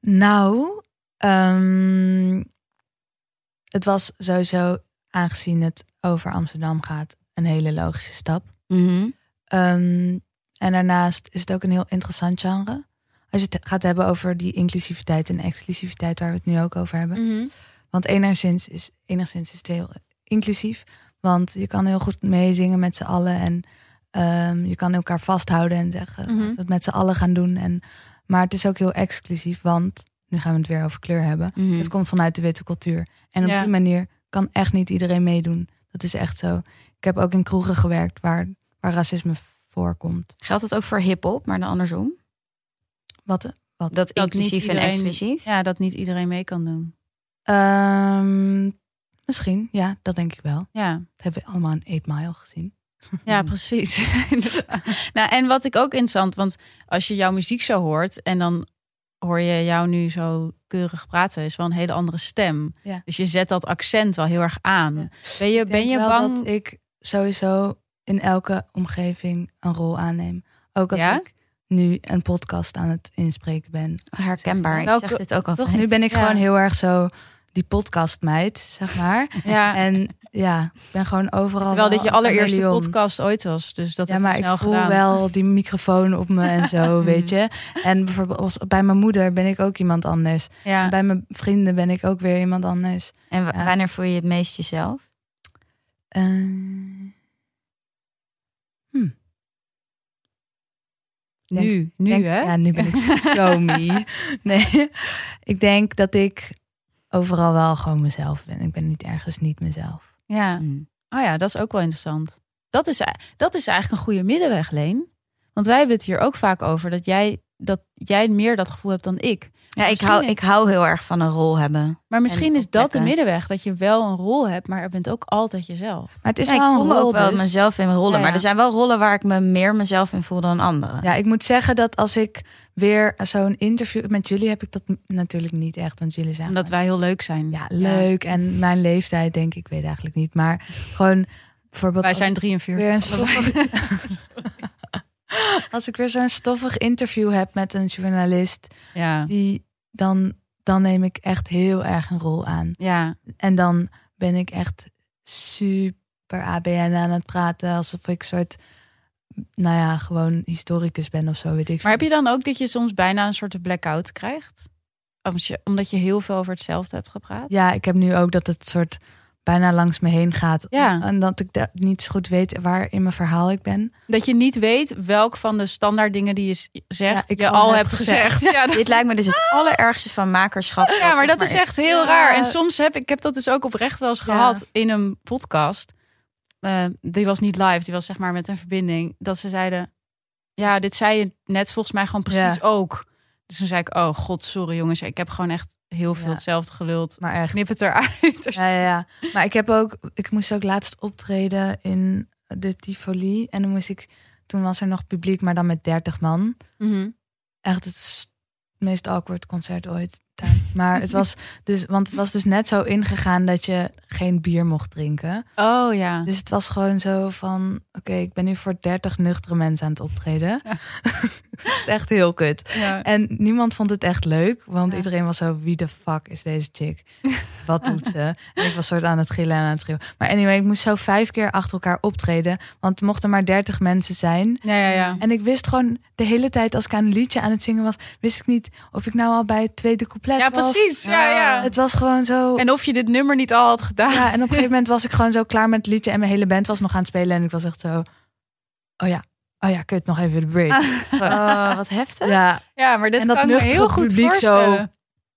Speaker 2: nou, ehm, het was sowieso, aangezien het over Amsterdam gaat, een hele logische stap.
Speaker 1: Mhm.
Speaker 2: Ehm, en daarnaast is het ook een heel interessant genre. Als je het gaat hebben over die inclusiviteit en exclusiviteit, waar we het nu ook over hebben. Want enigszins is, enigszins is het heel inclusief. Want je kan heel goed meezingen met z'n allen. En ehm, je kan elkaar vasthouden en zeggen
Speaker 3: Mhm.
Speaker 2: dat we het met z'n allen gaan doen. En, maar het is ook heel exclusief, want nu gaan we het weer over kleur hebben.
Speaker 1: Mhm.
Speaker 2: Het komt vanuit de witte cultuur. En op
Speaker 3: Ja.
Speaker 2: die manier kan echt niet iedereen meedoen. Dat is echt zo. Ik heb ook in kroegen gewerkt waar, waar racisme voorkomt.
Speaker 1: Geldt dat ook voor hip-hop, maar dan andersom?
Speaker 2: Wat?
Speaker 1: Dat,
Speaker 3: niet
Speaker 1: inclusief en
Speaker 3: iedereen-
Speaker 1: exclusief?
Speaker 3: Ja, dat niet iedereen mee kan doen.
Speaker 2: ehm, misschien, ja, dat denk ik wel.
Speaker 3: Ja.
Speaker 2: Dat hebben we allemaal in 8 Mile gezien. Mm.
Speaker 3: Ja, precies. *laughs* Inderdaad. nou, en wat ik ook interessant, want als je jouw muziek zo hoort en dan hoor je jou nu zo keurig praten, is wel een hele andere stem.
Speaker 2: Ja.
Speaker 3: Dus je zet dat accent wel heel erg aan.
Speaker 2: Ja.
Speaker 3: Ben je,
Speaker 2: Ik denk
Speaker 3: ben je
Speaker 2: wel
Speaker 3: bang?
Speaker 2: dat ik sowieso in elke omgeving een rol aanneem. Ook als
Speaker 3: Ja?
Speaker 2: ik nu een podcast aan het inspreken ben.
Speaker 1: Herkenbaar. Ik
Speaker 3: Welke-
Speaker 1: zeg dit ook altijd.
Speaker 2: Toch? Nu ben ik
Speaker 3: Ja.
Speaker 2: gewoon heel erg zo die podcastmeid, zeg maar.
Speaker 3: *laughs* Ja.
Speaker 2: en *laughs* ja, ik ben gewoon overal.
Speaker 3: Terwijl dit
Speaker 2: wel
Speaker 3: je
Speaker 2: een
Speaker 3: allereerste
Speaker 2: chameleon.
Speaker 3: podcast ooit was. Dus dat
Speaker 2: ja,
Speaker 3: heb je
Speaker 2: maar ik
Speaker 3: snel
Speaker 2: voel
Speaker 3: gedaan.
Speaker 2: wel die microfoon op me en
Speaker 3: *laughs*
Speaker 2: zo, weet je. En bijvoorbeeld als, bij mijn moeder ben ik ook iemand anders.
Speaker 3: Ja.
Speaker 2: Bij mijn vrienden ben ik ook weer iemand anders.
Speaker 1: En wa-
Speaker 2: Ja.
Speaker 1: wanneer voel je het meest jezelf?
Speaker 2: Eh, denk-
Speaker 3: Nu, nu
Speaker 2: denk-
Speaker 3: hè?
Speaker 2: Ja, nu *laughs* ben ik zo me. Nee, ik denk dat ik overal wel gewoon mezelf ben. Ik ben niet ergens niet mezelf.
Speaker 3: ja.
Speaker 1: Mm.
Speaker 3: Oh ja, dat is ook wel interessant. Dat is, dat is eigenlijk een goede middenweg, Leen. Want wij hebben het hier ook vaak over dat jij, dat jij meer dat gevoel hebt dan ik.
Speaker 1: Ja, ik
Speaker 3: Misschien
Speaker 1: hou,
Speaker 3: is-
Speaker 1: ik hou heel erg van een rol hebben.
Speaker 3: Maar misschien is dat de
Speaker 1: opletten.
Speaker 3: middenweg. Dat je wel een rol hebt, maar je bent ook altijd jezelf.
Speaker 2: Maar het is
Speaker 1: Ja, ik
Speaker 2: wel
Speaker 1: voel
Speaker 2: een
Speaker 1: me
Speaker 2: rol
Speaker 1: ook wel
Speaker 2: dus.
Speaker 1: mezelf in mijn rollen.
Speaker 3: Ja, ja.
Speaker 1: Maar er zijn wel rollen waar ik me meer mezelf in voel dan anderen.
Speaker 2: Ja, ik moet zeggen dat als ik weer zo'n interview met jullie heb ik dat n- natuurlijk niet echt, want jullie zijn
Speaker 3: Omdat
Speaker 2: gewoon-
Speaker 3: wij heel leuk zijn.
Speaker 2: ja leuk en mijn leeftijd denk ik, ik weet eigenlijk niet, maar gewoon bijvoorbeeld
Speaker 3: Wij
Speaker 2: als
Speaker 3: zijn
Speaker 2: ik
Speaker 3: 43.
Speaker 2: weer een stoffig, *laughs* als ik weer zo'n stoffig interview heb met een journalist
Speaker 3: Ja.
Speaker 2: die dan, dan neem ik echt heel erg een rol aan.
Speaker 3: ja.
Speaker 2: En dan ben ik echt super ABN aan het praten. Alsof ik soort, nou ja, gewoon historicus ben of zo, weet ik
Speaker 3: Maar heb
Speaker 2: veel.
Speaker 3: je dan ook dat je soms bijna een soort blackout krijgt? Omdat je, omdat je heel veel over hetzelfde hebt gepraat?
Speaker 2: Ja, ik heb nu ook dat het soort bijna langs me heen gaat.
Speaker 3: Ja.
Speaker 2: En dat ik da- niet zo goed weet waar in mijn verhaal ik ben.
Speaker 3: Dat je niet weet welk van de standaard dingen die je s-
Speaker 2: Ja,
Speaker 3: zegt,
Speaker 2: ik
Speaker 3: je
Speaker 2: al
Speaker 3: al
Speaker 2: heb
Speaker 3: hebt gezegd. *laughs* Ja, dat-
Speaker 1: Dit lijkt me dus het *laughs* allerergste van makerschap.
Speaker 3: ja, maar
Speaker 1: zeg
Speaker 3: dat is echt heel raar. En
Speaker 2: Ja.
Speaker 3: soms heb ik heb dat dus ook oprecht wel eens
Speaker 2: Ja.
Speaker 3: gehad in een podcast. Eh, die was niet live, die was zeg maar met een verbinding. Dat ze zeiden: Ja, dit zei je net volgens mij gewoon precies ook. Dus toen zei ik: Oh god, sorry jongens, ik heb gewoon echt heel veel
Speaker 2: Ja.
Speaker 3: hetzelfde geluld.
Speaker 2: Maar echt.
Speaker 3: Knip het eruit.
Speaker 2: Ja, ja, ja. Maar ik heb ook, ik moest ook laatst optreden in de Tivoli. En dan moest ik, toen was er nog publiek, maar dan met 30 man.
Speaker 3: Mhm.
Speaker 2: echt het s- meest awkward concert ooit. daar. Maar het was dus, want het was dus net zo ingegaan dat je geen bier mocht drinken.
Speaker 3: Oh ja.
Speaker 2: Dus het *laughs* was gewoon zo van, oké, ik ben nu voor 30 nuchtere mensen aan het optreden. is echt heel kut.
Speaker 3: Ja.
Speaker 2: En niemand vond het echt leuk, want
Speaker 3: Ja.
Speaker 2: iedereen was zo: wie de fuck is deze chick? Wat doet ze? En ik was soort aan het gillen en aan het schreeuwen. Maar anyway, ik moest zo vijf keer achter elkaar optreden, want er mochten maar dertig mensen zijn.
Speaker 3: Ja, ja, ja.
Speaker 2: En ik wist gewoon de hele tijd als ik aan een liedje aan het zingen was, wist ik niet of ik nou al bij het tweede couplet
Speaker 3: Ja,
Speaker 2: was.
Speaker 3: precies. Ja, ja.
Speaker 2: Het was gewoon zo.
Speaker 3: En of je dit nummer niet al had gedaan.
Speaker 2: Ja, en op een gegeven moment was ik gewoon zo klaar met het liedje en mijn hele band was nog aan het spelen en ik was echt zo, oh ja, oh ja, kut, nog even de
Speaker 3: Ah.
Speaker 2: break.
Speaker 1: Oh, wat heftig.
Speaker 3: *laughs*
Speaker 2: Ja,
Speaker 3: Ja, maar dit
Speaker 2: En dat
Speaker 3: kan ik me
Speaker 2: nuchtere
Speaker 3: heel goed
Speaker 2: publiek zo.
Speaker 3: voorstellen.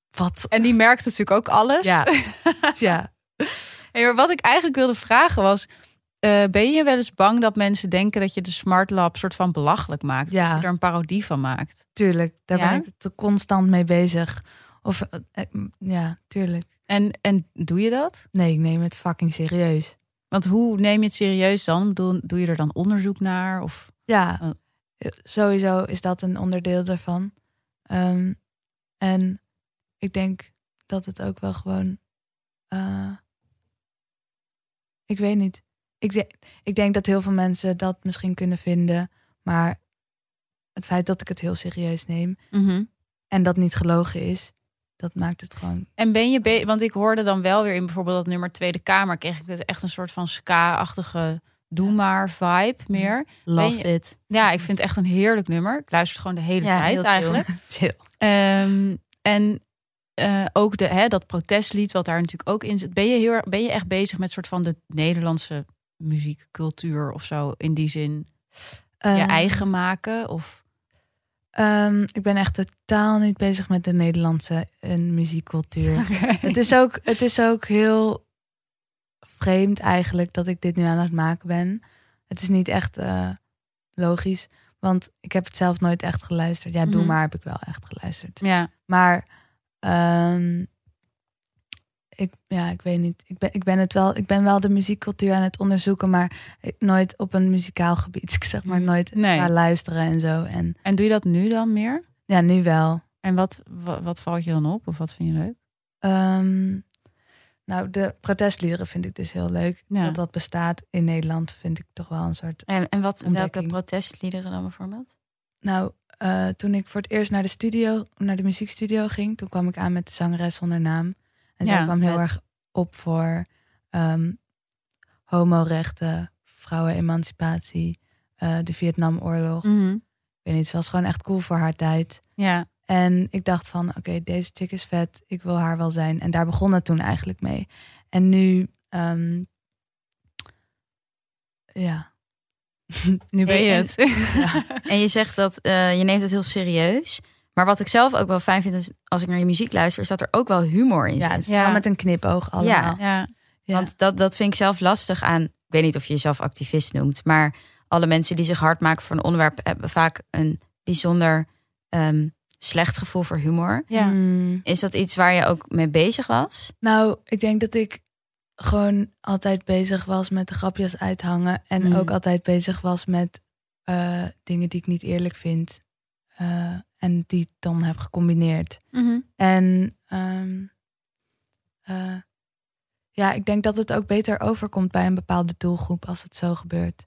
Speaker 2: wat?
Speaker 3: En die merkt natuurlijk ook alles.
Speaker 2: Ja, ja.
Speaker 3: Hey, maar wat ik eigenlijk wilde vragen was... eh, ben je wel eens bang dat mensen denken dat je de Smart Lab soort van belachelijk maakt?
Speaker 2: Ja.
Speaker 3: Dat je er een parodie van maakt?
Speaker 2: Tuurlijk, daar
Speaker 3: Ja?
Speaker 2: ben ik te constant mee bezig. Of eh, eh, ja, tuurlijk.
Speaker 3: En, en doe je dat?
Speaker 2: Nee, ik neem het fucking serieus.
Speaker 3: Want hoe neem je het serieus dan? Doe, doe je er dan onderzoek naar? Of...
Speaker 2: Ja,
Speaker 3: Oh.
Speaker 2: eh, sowieso is dat een onderdeel daarvan. Ehm, en ik denk dat het ook wel gewoon. eh, ik weet niet. Ik, de- ik denk dat heel veel mensen dat misschien kunnen vinden. Maar het feit dat ik het heel serieus neem en dat niet gelogen is, dat maakt het gewoon.
Speaker 3: En ben je... be- Want ik hoorde dan wel weer in bijvoorbeeld dat nummer Tweede Kamer... kreeg ik het echt een soort van ska-achtige doe maar vibe meer.
Speaker 1: Loved
Speaker 3: Ben
Speaker 1: it.
Speaker 3: Ja, ik vind het echt een heerlijk nummer. Ik luister het gewoon de hele
Speaker 1: Ja, heel
Speaker 3: tijd
Speaker 1: chill.
Speaker 3: eigenlijk.
Speaker 2: chill.
Speaker 3: Ehm, en eh, ook de, hè, dat protestlied, wat daar natuurlijk ook in zit. Ben je, heel, erg- ben je echt bezig met soort van de Nederlandse muziekcultuur of zo? In die zin, je
Speaker 2: Ehm,
Speaker 3: eigen maken? Of,
Speaker 2: Ehm, ik ben echt totaal niet bezig met de Nederlandse eh,
Speaker 3: *laughs*
Speaker 2: muziekcultuur. Het, is ook, het is ook heel vreemd eigenlijk dat ik dit nu aan het maken ben. Het is niet echt eh, logisch, want ik heb het zelf nooit echt geluisterd. Ja, doe
Speaker 3: Mhm.
Speaker 2: maar heb ik wel echt geluisterd.
Speaker 3: ja.
Speaker 2: Maar ehm, ik, ja, ik weet niet. Ik ben, ik, ben het wel, ik ben wel de muziekcultuur aan het onderzoeken, maar ik- nooit op een muzikaal gebied. *laughs* Ik zeg maar
Speaker 1: Mhm.
Speaker 2: nooit
Speaker 3: Nee.
Speaker 2: naar luisteren en zo. En
Speaker 3: En doe je dat nu dan meer?
Speaker 2: ja, nu wel.
Speaker 3: En wat, wat, wat valt je dan op? Of wat vind je leuk?
Speaker 2: Ehm, nou, de protestliederen vind ik dus heel leuk.
Speaker 3: Ja.
Speaker 2: Dat dat bestaat in Nederland vind ik toch wel een soort...
Speaker 1: En, en wat, welke
Speaker 2: Ontdekking.
Speaker 1: protestliederen dan bijvoorbeeld?
Speaker 2: Nou, eh, toen ik voor het eerst naar de studio, naar de muziekstudio ging... toen kwam ik aan met de zangeres zonder naam. En zij
Speaker 3: Ja,
Speaker 2: kwam heel
Speaker 1: vet.
Speaker 2: erg op voor ehm homorechten, vrouwenemancipatie, eh, de Vietnamoorlog. Ik weet niet, ze was gewoon echt cool voor haar tijd.
Speaker 3: Ja.
Speaker 2: En ik dacht van, oké, deze chick is vet. Ik wil haar wel zijn. En daar begon het toen eigenlijk mee. En nu, ehm, ja. *laughs*
Speaker 3: Nu ben
Speaker 1: Hey,
Speaker 3: je
Speaker 1: en-
Speaker 3: het. *laughs*
Speaker 1: *laughs* En je zegt dat eh, je neemt het heel serieus. Maar wat ik zelf ook wel fijn vind is als ik naar je muziek luister, is dat er ook wel humor in
Speaker 2: Ja, het
Speaker 1: zit.
Speaker 2: is wel met een knipoog allemaal.
Speaker 3: ja.
Speaker 2: Ja.
Speaker 1: Want dat, dat vind ik zelf lastig aan. Ik weet niet of je jezelf activist noemt, maar alle mensen die zich hard maken voor een onderwerp hebben vaak een bijzonder ehm, slecht gevoel voor humor.
Speaker 3: Ja.
Speaker 2: Mm,
Speaker 1: Is dat iets waar je ook mee bezig was?
Speaker 2: nou, ik denk dat ik gewoon altijd bezig was met de grapjes uithangen. En
Speaker 1: Mm.
Speaker 2: ook altijd bezig was met eh, dingen die ik niet eerlijk vind. eh, en die ik dan heb gecombineerd.
Speaker 3: Mhm.
Speaker 2: En ehm, eh, ja, ik denk dat het ook beter overkomt bij een bepaalde doelgroep als het zo gebeurt.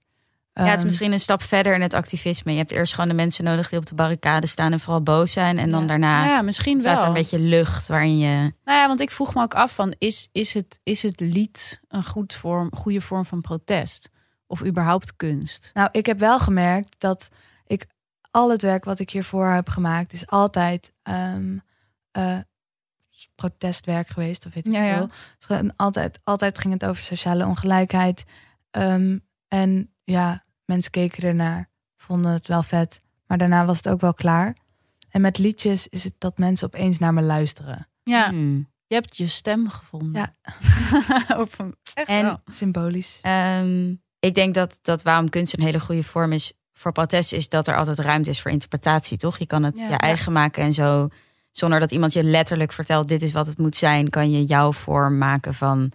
Speaker 2: Ehm,
Speaker 1: ja,
Speaker 3: Ehm,
Speaker 1: het is misschien een stap verder in het activisme. Je hebt eerst gewoon de mensen nodig die op de barricade staan en vooral boos zijn. En dan
Speaker 2: Ja.
Speaker 1: daarna
Speaker 3: ja, misschien wel.
Speaker 1: staat er een beetje lucht waarin je.
Speaker 3: Nou ja, want ik vroeg me ook af van is, is, het, is het lied een goed vorm, goede vorm van protest? Of überhaupt kunst?
Speaker 2: Nou, ik heb wel gemerkt dat ik al het werk wat ik hiervoor heb gemaakt is altijd ehm, eh, protestwerk geweest of weet ik
Speaker 3: Ja, ja.
Speaker 2: veel. Dus gewoon altijd, altijd ging het over sociale ongelijkheid. Ehm, en ja, mensen keken ernaar, vonden het wel vet, maar daarna was het ook wel klaar. En met liedjes is het dat mensen opeens naar me luisteren.
Speaker 3: Ja,
Speaker 1: Hmm.
Speaker 3: je hebt je stem *laughs* gevonden. Ja. Op een, echt
Speaker 1: En-
Speaker 3: wel.
Speaker 2: Symbolisch.
Speaker 1: Ehm, ik denk dat, dat waarom kunst een hele goede vorm is voor protest, is dat er altijd ruimte is voor interpretatie, toch? Je kan het
Speaker 3: Ja.
Speaker 1: je eigen maken en zo. Zonder dat iemand je letterlijk vertelt: dit is wat het moet zijn, kan je jouw vorm maken van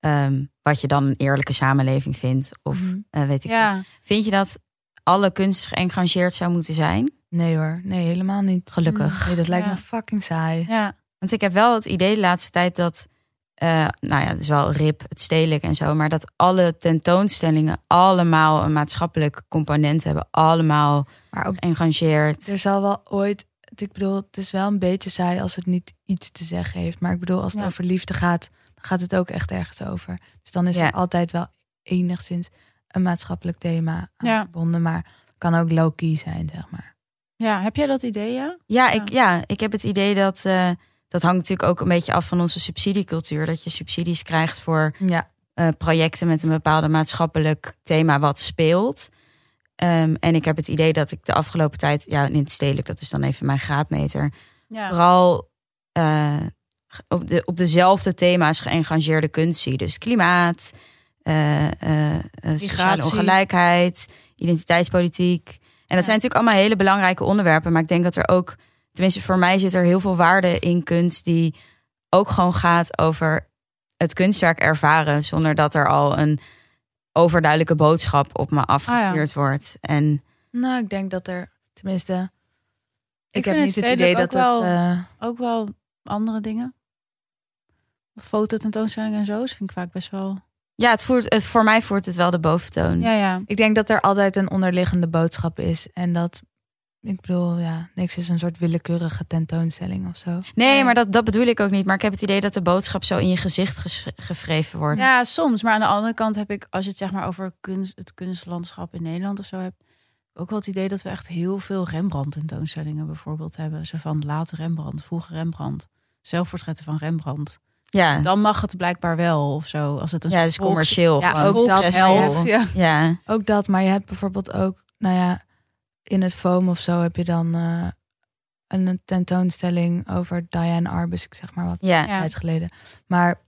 Speaker 1: ehm, wat je dan een eerlijke samenleving vindt. Of
Speaker 2: Mhm.
Speaker 1: eh, weet ik veel.
Speaker 3: Ja,
Speaker 1: Vind je dat alle kunst geëngageerd zou moeten zijn?
Speaker 2: Nee hoor, nee helemaal niet.
Speaker 3: Mhm.
Speaker 1: Gelukkig.
Speaker 2: Nee, dat lijkt
Speaker 3: Ja.
Speaker 2: me fucking saai.
Speaker 3: ja.
Speaker 1: Want ik heb wel het idee de laatste tijd dat eh, nou ja, dus wel RIP, het stedelijk en zo. Maar dat alle tentoonstellingen allemaal een maatschappelijk component hebben. Allemaal
Speaker 2: Maar ook
Speaker 1: geëngageerd.
Speaker 2: Er zal wel ooit. Ik bedoel, het is wel een beetje saai als het niet iets te zeggen heeft. Maar ik bedoel, als het
Speaker 1: Ja.
Speaker 2: over liefde gaat, dan gaat het ook echt ergens over. Dus dan is
Speaker 1: Ja.
Speaker 2: er altijd wel enigszins een maatschappelijk thema aan
Speaker 3: Ja.
Speaker 2: verbonden. Maar het kan ook low-key zijn, zeg maar.
Speaker 3: Ja, heb jij dat idee, ja?
Speaker 1: Ja, ik, ja, ik heb het idee dat... eh, dat hangt natuurlijk ook een beetje af van onze subsidiecultuur. Dat je subsidies krijgt voor
Speaker 2: Ja,
Speaker 1: eh, projecten met een bepaalde maatschappelijk thema wat speelt. Ehm, en ik heb het idee dat ik de afgelopen tijd, ja, in het stedelijk, dat is dan even mijn graadmeter,
Speaker 3: Ja.
Speaker 1: vooral eh, op, de, op dezelfde thema's geëngageerde kunst zie. Dus klimaat, eh, eh, eh, sociale
Speaker 3: Migratie.
Speaker 1: ongelijkheid, identiteitspolitiek. En dat zijn natuurlijk allemaal hele belangrijke onderwerpen. Maar ik denk dat er ook, tenminste voor mij zit er heel veel waarde in kunst die ook gewoon gaat over het kunstwerk ervaren. Zonder dat er al een overduidelijke boodschap
Speaker 3: Ah,
Speaker 1: op me afgevuurd wordt. En
Speaker 2: nou, ik denk dat er tenminste. Ik,
Speaker 3: Ik
Speaker 2: heb
Speaker 3: vind
Speaker 2: niet
Speaker 3: het
Speaker 2: het idee dat
Speaker 3: stedelijk ook
Speaker 2: dat.
Speaker 3: wel-
Speaker 2: eh,
Speaker 3: Ook wel andere dingen. Fototentoonstellingen en zo, dat vind ik vaak best wel...
Speaker 1: ja, het voert, het, voor mij voert het wel de boventoon.
Speaker 3: Ja, ja.
Speaker 2: ik denk dat er altijd een onderliggende boodschap is. En dat. Ik bedoel, ja, niks is een soort willekeurige tentoonstelling of zo.
Speaker 1: Nee,
Speaker 3: Nee.
Speaker 1: maar dat, dat bedoel ik ook niet. Maar ik heb het idee dat de boodschap zo in je gezicht ges- gevreven wordt.
Speaker 3: Ja, soms. Maar aan de andere kant heb ik, als je het zeg maar over kunst, het kunstlandschap in Nederland of zo hebt, ook wel het idee dat we echt heel veel Rembrandt-tentoonstellingen bijvoorbeeld hebben. Zo van late Rembrandt, vroege Rembrandt, zelfportretten van Rembrandt.
Speaker 1: Ja,
Speaker 3: Dan mag het blijkbaar wel of zo. Als het een
Speaker 1: ja het is
Speaker 3: volks-
Speaker 1: commercieel.
Speaker 2: Ja,
Speaker 1: gewoon
Speaker 2: ook dat
Speaker 1: succesvol.
Speaker 2: helpt.
Speaker 3: Ja.
Speaker 1: Ja,
Speaker 2: Ook dat, maar je hebt bijvoorbeeld ook, nou ja, in het foam of zo heb je dan eh, een tentoonstelling over Diane Arbus, ik zeg maar wat
Speaker 1: ja,
Speaker 3: Ja.
Speaker 2: tijd geleden. Maar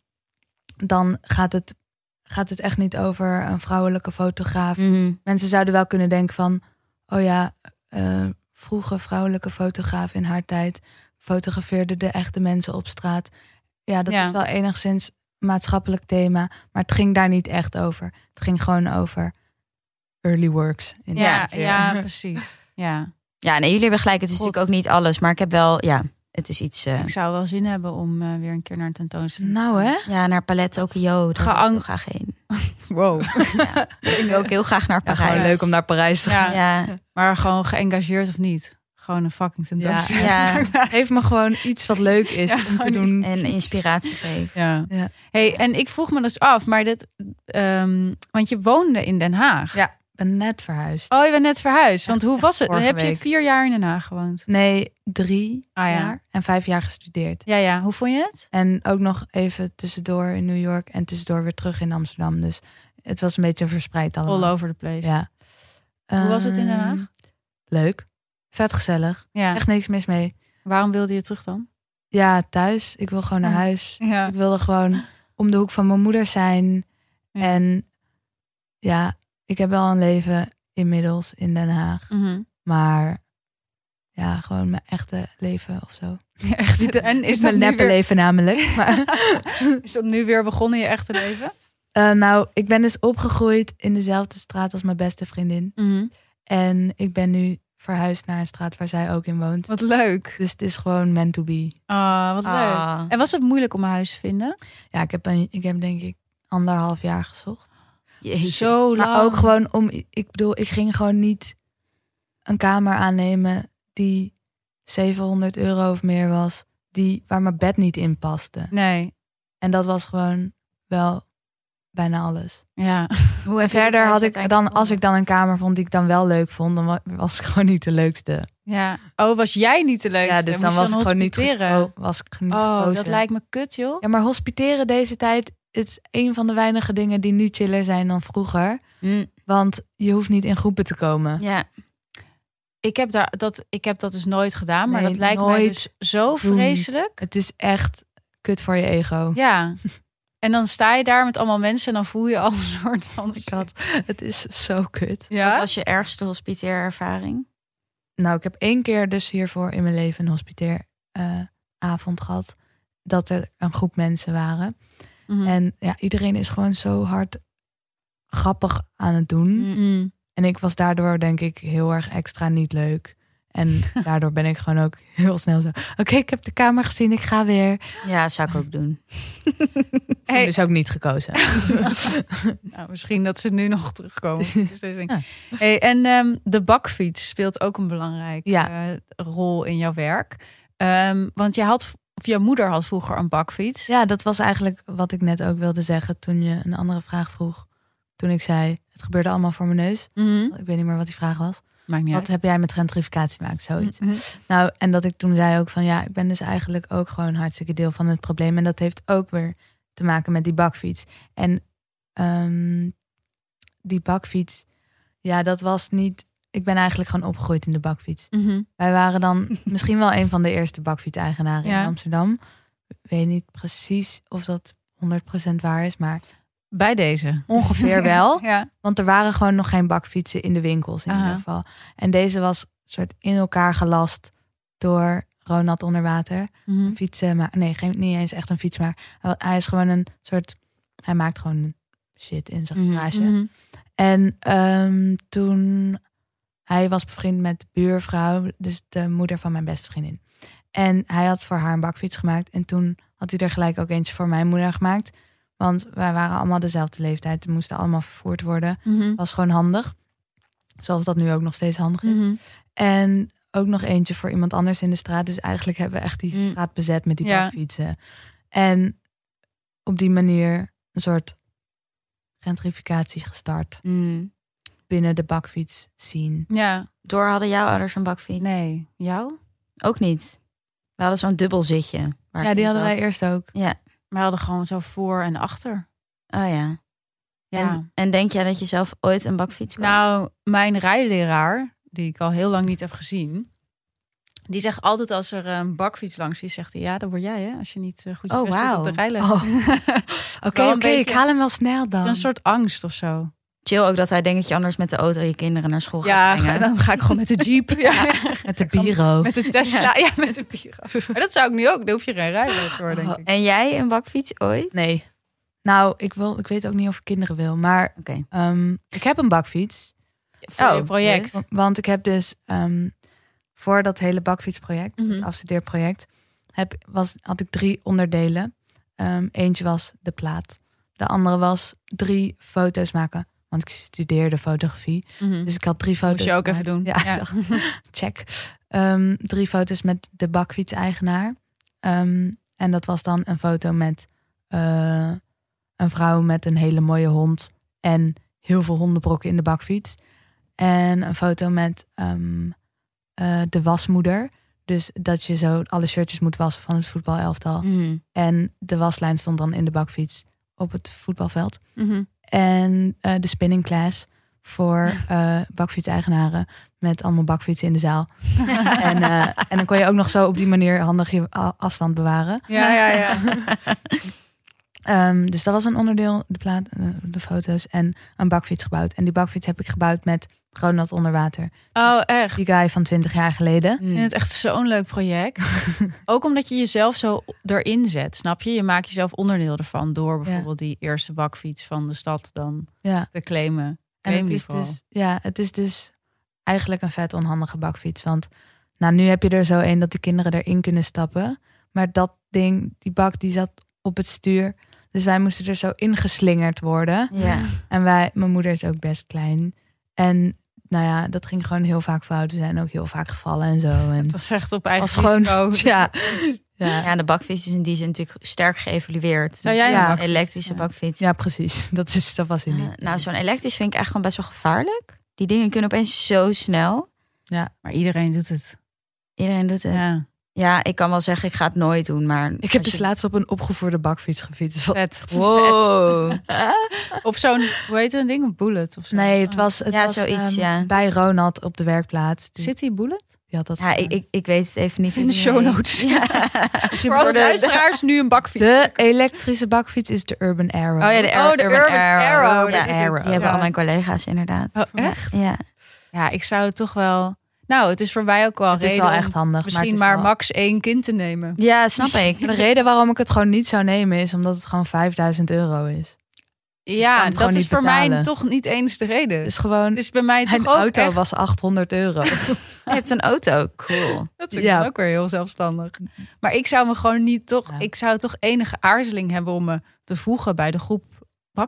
Speaker 2: dan gaat het, gaat het echt niet over een vrouwelijke fotograaf.
Speaker 1: Mhm.
Speaker 2: Mensen zouden wel kunnen denken van, oh ja, eh vroege vrouwelijke fotograaf in haar tijd fotografeerde de echte mensen op straat. Ja, dat
Speaker 3: Ja.
Speaker 2: is wel enigszins maatschappelijk thema, maar het ging daar niet echt over. Het ging gewoon over early works. In
Speaker 3: Ja,
Speaker 2: het weer.
Speaker 3: ja, precies. Ja,
Speaker 1: ja nee, jullie hebben gelijk. Het is
Speaker 3: God.
Speaker 1: natuurlijk ook niet alles. Maar ik heb wel, ja, het is iets. eh,
Speaker 3: ik zou wel zin hebben om eh, weer een keer naar een tentoonstelling.
Speaker 2: Nou hè?
Speaker 1: ja, naar Palet Tokio. Daar ga
Speaker 3: Geang-
Speaker 1: ik heel graag heen.
Speaker 3: Wow.
Speaker 1: Ja. Ik wil ook heel graag naar
Speaker 2: Ja,
Speaker 1: Parijs.
Speaker 2: gewoon leuk om naar Parijs te gaan.
Speaker 3: Ja,
Speaker 1: Ja,
Speaker 3: maar gewoon geëngageerd of niet? Gewoon een fucking tentoonstelling.
Speaker 1: ja.
Speaker 2: *laughs* Geef me gewoon iets wat leuk is
Speaker 3: Ja,
Speaker 2: om te
Speaker 3: gewoon
Speaker 2: doen.
Speaker 1: en inspiratie geeft.
Speaker 3: Ja.
Speaker 2: Ja.
Speaker 3: Hey, en ik vroeg me dus af, maar dit, ehm, want je woonde in Den Haag.
Speaker 2: Ja. Ik ben net verhuisd.
Speaker 3: Oh, je bent net verhuisd. Want hoe was het?
Speaker 2: vorige
Speaker 3: Heb je
Speaker 2: week.
Speaker 3: vier jaar in Den Haag gewoond?
Speaker 2: Nee, drie
Speaker 3: Ah, ja.
Speaker 2: jaar en vijf jaar gestudeerd.
Speaker 3: Ja, ja. Hoe vond je het?
Speaker 2: En ook nog even tussendoor in New York en tussendoor weer terug in Amsterdam. Dus het was een beetje verspreid allemaal.
Speaker 3: All over the place. Ja.
Speaker 2: Oh. Ja.
Speaker 3: Hoe was het in Den
Speaker 2: Ehm,
Speaker 3: Haag?
Speaker 2: Leuk. Vet gezellig. Echt niks mis mee.
Speaker 3: Waarom wilde je terug dan?
Speaker 2: Ja, thuis. Ik wil gewoon naar
Speaker 3: Ja.
Speaker 2: huis.
Speaker 3: Ja.
Speaker 2: Ik wilde gewoon om de hoek van mijn moeder zijn.
Speaker 3: Ja.
Speaker 2: En ja, ik heb wel een leven inmiddels in Den Haag.
Speaker 3: Mm. Mhm.
Speaker 2: *laughs* Maar ja, gewoon mijn echte leven of zo.
Speaker 3: echt. En is dat,
Speaker 2: mijn
Speaker 3: nu
Speaker 2: neppe
Speaker 3: weer,
Speaker 2: leven
Speaker 3: *laughs*
Speaker 2: namelijk. Maar,
Speaker 3: is dat nu weer begonnen in je echte leven?
Speaker 2: Eh, nou, ik ben dus opgegroeid in dezelfde straat als mijn beste vriendin. En ik ben nu verhuisd naar een straat waar zij ook in woont.
Speaker 3: Wat leuk.
Speaker 2: Dus het is gewoon meant to be.
Speaker 3: Ah, wat leuk.
Speaker 1: Ah.
Speaker 3: En was het moeilijk om een huis te vinden?
Speaker 2: Ja, ik heb, een, ik heb denk ik anderhalf jaar gezocht.
Speaker 1: Jezus. Nou,
Speaker 3: Zo lang.
Speaker 2: Maar ook gewoon om, ik bedoel, ik ging gewoon niet een kamer aannemen die 700 euro of meer was, die, waar mijn bed niet in paste.
Speaker 3: Nee.
Speaker 2: En dat was gewoon wel bijna alles.
Speaker 3: Ja.
Speaker 1: Hoe heb je dit
Speaker 2: Verder
Speaker 1: huis
Speaker 2: had ik
Speaker 1: uiteindelijk
Speaker 2: dan, als ik
Speaker 1: gevonden?
Speaker 2: dan een kamer vond die ik dan wel leuk vond, dan wa- was ik *laughs* gewoon niet de leukste.
Speaker 3: ja. Oh, was jij niet de leukste?
Speaker 2: Ja, dus
Speaker 3: Moest
Speaker 2: dan
Speaker 3: je
Speaker 2: was ik gewoon niet
Speaker 3: hospiteren?
Speaker 2: geko- was ik niet
Speaker 3: Oh, dat
Speaker 2: gekozen.
Speaker 3: lijkt me kut, joh.
Speaker 2: Ja, maar hospiteren deze tijd, het is een van de weinige dingen die nu chiller zijn dan vroeger.
Speaker 1: Mm,
Speaker 2: Want je hoeft niet in groepen te komen.
Speaker 1: ja.
Speaker 3: Ik heb, daar, dat, ik heb dat dus nooit gedaan, maar
Speaker 2: Nee,
Speaker 3: dat lijkt mij
Speaker 2: nooit
Speaker 3: dus zo
Speaker 2: doen.
Speaker 3: vreselijk.
Speaker 2: Het is echt kut voor je ego.
Speaker 3: *laughs* Ja. En dan sta je daar met allemaal mensen en dan voel je al een soort van...
Speaker 2: Ik had, het is zo kut.
Speaker 1: Wat
Speaker 3: Ja?
Speaker 1: was je ergste hospiteerervaring?
Speaker 2: Nou, ik heb één keer dus hiervoor in mijn leven een hospiteeravond avond gehad. Dat er een groep mensen waren.
Speaker 3: Mhm.
Speaker 2: En ja, iedereen is gewoon zo hard grappig aan het doen.
Speaker 1: Mm.
Speaker 3: Mhm.
Speaker 2: En ik was daardoor denk ik heel erg extra niet leuk. *laughs* En daardoor ben ik gewoon ook heel snel zo. Oké, ik heb de kamer gezien, ik ga weer.
Speaker 1: Ja, zou ik ook doen.
Speaker 3: Hey.
Speaker 2: Dus ook niet gekozen.
Speaker 3: Nou, misschien dat ze nu nog *laughs* terugkomen. Dus dat denk ik.
Speaker 2: Ja.
Speaker 3: Hey, en ehm, de bakfiets speelt ook een belangrijke
Speaker 2: Ja.
Speaker 3: eh, rol in jouw werk. Ehm, want je had, of jouw moeder had vroeger een bakfiets.
Speaker 2: *laughs* Ja, dat was eigenlijk wat ik net ook wilde zeggen toen je een andere vraag vroeg. Toen ik zei, het gebeurde allemaal voor mijn neus.
Speaker 3: Mhm.
Speaker 2: Ik weet niet meer wat die vraag was.
Speaker 3: Maakt niet
Speaker 2: Wat heb jij met gentrificatie gemaakt? Zoiets.
Speaker 3: uit. Mhm.
Speaker 2: Nou, en dat ik toen zei ook van ja, ik ben dus eigenlijk ook gewoon hartstikke deel van het probleem. En dat heeft ook weer te maken met die bakfiets. En ehm, die bakfiets, ja, dat was niet. Ik ben eigenlijk gewoon opgegroeid in de bakfiets.
Speaker 3: Mhm.
Speaker 2: Wij waren dan misschien wel een van de eerste bakfietseigenaren
Speaker 3: Ja.
Speaker 2: in Amsterdam. Ik weet niet precies of dat 100% waar is, maar
Speaker 3: Bij deze.
Speaker 2: ongeveer wel.
Speaker 3: Ja.
Speaker 2: Want er waren gewoon nog geen bakfietsen in de winkels in
Speaker 3: Aha.
Speaker 2: ieder geval. En deze was soort in elkaar gelast door Ronald Onderwater.
Speaker 3: Mhm.
Speaker 2: Een fietsen, maar nee, geen, niet eens echt een fiets, maar hij- hij is gewoon een soort... Hij maakt gewoon shit in zijn
Speaker 1: Mhm.
Speaker 2: garage.
Speaker 3: Mhm.
Speaker 2: En ehm, toen hij was bevriend met de buurvrouw, dus de moeder van mijn beste vriendin. En hij had voor haar een bakfiets gemaakt. En toen had hij er gelijk ook eentje voor mijn moeder gemaakt. Want wij waren allemaal dezelfde leeftijd. We moesten allemaal vervoerd worden.
Speaker 3: Mhm.
Speaker 2: Was gewoon handig. Zoals dat nu ook nog steeds handig is.
Speaker 3: Mhm.
Speaker 2: En ook nog eentje voor iemand anders in de straat. Dus eigenlijk hebben we echt die
Speaker 1: Mm.
Speaker 2: straat bezet met die
Speaker 3: Mhm. Ja.
Speaker 2: bakfietsen. En op die manier een soort gentrificatie gestart
Speaker 1: Mm.
Speaker 2: binnen de bakfiets zien.
Speaker 3: Ja.
Speaker 1: Door hadden jouw ouders een bakfiets?
Speaker 3: Nee. Jou?
Speaker 1: Ook niet. We hadden zo'n dubbel zitje. waar
Speaker 2: Ja,
Speaker 1: ik
Speaker 2: die
Speaker 1: in
Speaker 2: hadden wij
Speaker 1: zat.
Speaker 2: eerst ook.
Speaker 1: Ja,
Speaker 3: Wij hadden gewoon zo voor en achter.
Speaker 1: oh ja.
Speaker 3: Ja.
Speaker 1: En, en denk jij dat je zelf ooit een bakfiets koopt?
Speaker 3: Nou, mijn rijleraar, die ik al heel lang niet heb gezien, die zegt altijd als er een bakfiets langs is, zegt hij, ja, dat word jij hè, als je niet eh, goed je
Speaker 1: Oh,
Speaker 3: best doet op
Speaker 1: wauw.
Speaker 3: de rijles.
Speaker 2: Oh. Oké,
Speaker 3: Wel een
Speaker 2: oké, ik
Speaker 3: beetje-
Speaker 2: haal hem wel snel dan.
Speaker 3: Een soort angst of zo.
Speaker 1: Chill ook dat hij denkt dat je anders met de auto je kinderen naar school gaat
Speaker 3: ga- *laughs*
Speaker 1: brengen.
Speaker 3: ga ik gewoon met de *laughs* jeep. Ja.
Speaker 2: Met de bureau.
Speaker 3: Met de Tesla, ja, met de bureau. Maar dat zou ik nu ook, daar hoef je geen rijles voor, denk
Speaker 2: Oh.
Speaker 3: ik.
Speaker 1: En jij een bakfiets ooit?
Speaker 2: *laughs* Nee. Nou, ik, wil, ik weet ook niet of ik kinderen wil, maar
Speaker 1: Oké.
Speaker 2: ehm, ik heb een bakfiets.
Speaker 3: Voor
Speaker 1: Oh,
Speaker 3: je project.
Speaker 1: leuk.
Speaker 2: Want ik heb dus ehm, voor dat hele bakfietsproject,
Speaker 3: Mhm.
Speaker 2: het afstudeerproject, heb, was, had ik drie onderdelen. Ehm, eentje was de plaat. De andere was drie foto's maken. Want ik studeerde fotografie.
Speaker 3: Mhm.
Speaker 2: Dus ik had drie foto's.
Speaker 3: Moest je ook even
Speaker 2: gemaakt.
Speaker 3: doen.
Speaker 2: Ja, ik dacht, *laughs* check. Ehm, drie foto's met de bakfiets-eigenaar. Ehm, en dat was dan een foto met eh, een vrouw met een hele mooie hond. En heel veel hondenbrokken in de bakfiets. En een foto met ehm, eh, de wasmoeder. Dus dat je zo alle shirtjes moet wassen van het voetbalelftal.
Speaker 3: Mm.
Speaker 1: Mhm.
Speaker 2: En de waslijn stond dan in de bakfiets op het voetbalveld.
Speaker 3: Mhm.
Speaker 2: En eh, de spinning class voor eh bakfietseigenaren. Met allemaal bakfietsen in de zaal. en, eh, en dan kon je ook nog zo op die manier handig je a- afstand bewaren.
Speaker 3: Ja, ja, ja. *laughs*
Speaker 2: Ehm, dus dat was een onderdeel, de, plaat, eh, de foto's en een bakfiets gebouwd. En die bakfiets heb ik gebouwd met Ronald Onderwater.
Speaker 3: Oh, echt.
Speaker 2: Die guy van 20 jaar geleden.
Speaker 1: Mm.
Speaker 3: Ik vind het echt zo'n leuk project. ook omdat je jezelf zo erin zet, snap je? Je maakt jezelf onderdeel ervan door bijvoorbeeld die eerste bakfiets van de stad dan
Speaker 2: Ja.
Speaker 3: te claimen.
Speaker 2: En het
Speaker 3: Claim
Speaker 2: is,
Speaker 3: die vooral.
Speaker 2: dus, ja, het is dus eigenlijk een vet onhandige bakfiets. Want nou, nu heb je er zo een dat de kinderen erin kunnen stappen. Maar dat ding, die bak, die zat op het stuur. Dus wij moesten er zo ingeslingerd worden.
Speaker 1: Ja.
Speaker 2: En wij, mijn moeder is ook best klein. En nou ja, dat ging gewoon heel vaak fout. We zijn ook heel vaak gevallen
Speaker 1: *laughs*
Speaker 2: en zo. En
Speaker 3: Het was echt op eigen
Speaker 2: was gewoon,
Speaker 3: risico. *laughs*
Speaker 2: *laughs* ja, ja,
Speaker 1: ja, de bakfiets is in die zin natuurlijk sterk geëvalueerd.
Speaker 3: Zou jij
Speaker 2: een
Speaker 1: ja.
Speaker 3: bakfiets?
Speaker 1: elektrische
Speaker 2: Ja.
Speaker 1: bakfiets?
Speaker 2: ja, precies. *laughs* Dat, is, dat was hij
Speaker 1: Eh,
Speaker 2: niet.
Speaker 1: nou, zo'n elektrisch vind ik echt gewoon best wel gevaarlijk. Die dingen kunnen opeens zo snel.
Speaker 3: Maar iedereen doet het.
Speaker 1: Iedereen doet het. Ja,
Speaker 3: Ja,
Speaker 1: ik kan wel zeggen, ik ga het nooit doen, maar...
Speaker 2: Ik heb
Speaker 1: als
Speaker 2: dus laatst op een opgevoerde bakfiets gefietst. Dus wat-
Speaker 3: vet.
Speaker 1: *laughs* Wow.
Speaker 3: Vet. Op zo'n, hoe heet het ding? Een bullet of zo?
Speaker 2: Nee, het
Speaker 3: Oh.
Speaker 2: was, het
Speaker 1: Ja,
Speaker 2: was
Speaker 1: zoiets,
Speaker 2: ehm,
Speaker 1: ja.
Speaker 2: bij Ronald op de werkplaats. Dus, Die,
Speaker 3: City bullet?
Speaker 2: die had dat
Speaker 1: Ja, ik,
Speaker 3: *laughs*
Speaker 2: gedaan.
Speaker 1: ik, ik weet het even niet.
Speaker 3: In
Speaker 1: hoe
Speaker 3: de
Speaker 1: die
Speaker 3: show
Speaker 1: heet.
Speaker 3: notes.
Speaker 1: Ja.
Speaker 3: Voor als
Speaker 1: de-
Speaker 3: luisteraars nu een bakfiets.
Speaker 2: De elektrische bakfiets is de Urban Arrow.
Speaker 1: Oh ja, de,
Speaker 3: Oh, de
Speaker 1: Urban
Speaker 3: Urban
Speaker 1: Arrow.
Speaker 3: Arrow,
Speaker 1: Ja,
Speaker 3: dat is het.
Speaker 1: Die hebben
Speaker 3: Ja.
Speaker 1: al mijn collega's inderdaad.
Speaker 3: Oh, echt?
Speaker 1: Ja.
Speaker 3: Ja, ik zou het toch wel... Nou, het is voor mij ook wel
Speaker 2: het is
Speaker 3: reden
Speaker 2: wel
Speaker 3: om
Speaker 2: echt handig.
Speaker 3: misschien
Speaker 2: het is
Speaker 3: maar
Speaker 2: wel-
Speaker 3: max één kind te nemen.
Speaker 1: ja, snap ik.
Speaker 3: *laughs*
Speaker 2: De reden waarom ik het gewoon niet zou nemen is omdat het gewoon 5000 euro is. Dus kan
Speaker 3: ja,
Speaker 2: het
Speaker 3: dat
Speaker 2: gewoon
Speaker 3: is
Speaker 2: niet
Speaker 3: voor mij
Speaker 2: betalen.
Speaker 3: toch niet eens de reden.
Speaker 2: Dus
Speaker 3: Dus,
Speaker 2: gewoon,
Speaker 3: bij mij toch
Speaker 2: mijn
Speaker 3: ook
Speaker 2: auto
Speaker 3: echt-
Speaker 2: was
Speaker 3: *laughs*
Speaker 2: 800 euro.
Speaker 1: Je hebt een auto, cool.
Speaker 3: Dat vind ik
Speaker 2: Ja.
Speaker 3: dan ook weer heel zelfstandig. Maar ik zou me gewoon niet toch...
Speaker 2: Ja.
Speaker 3: Ik zou toch enige aarzeling hebben om me te voegen bij de groep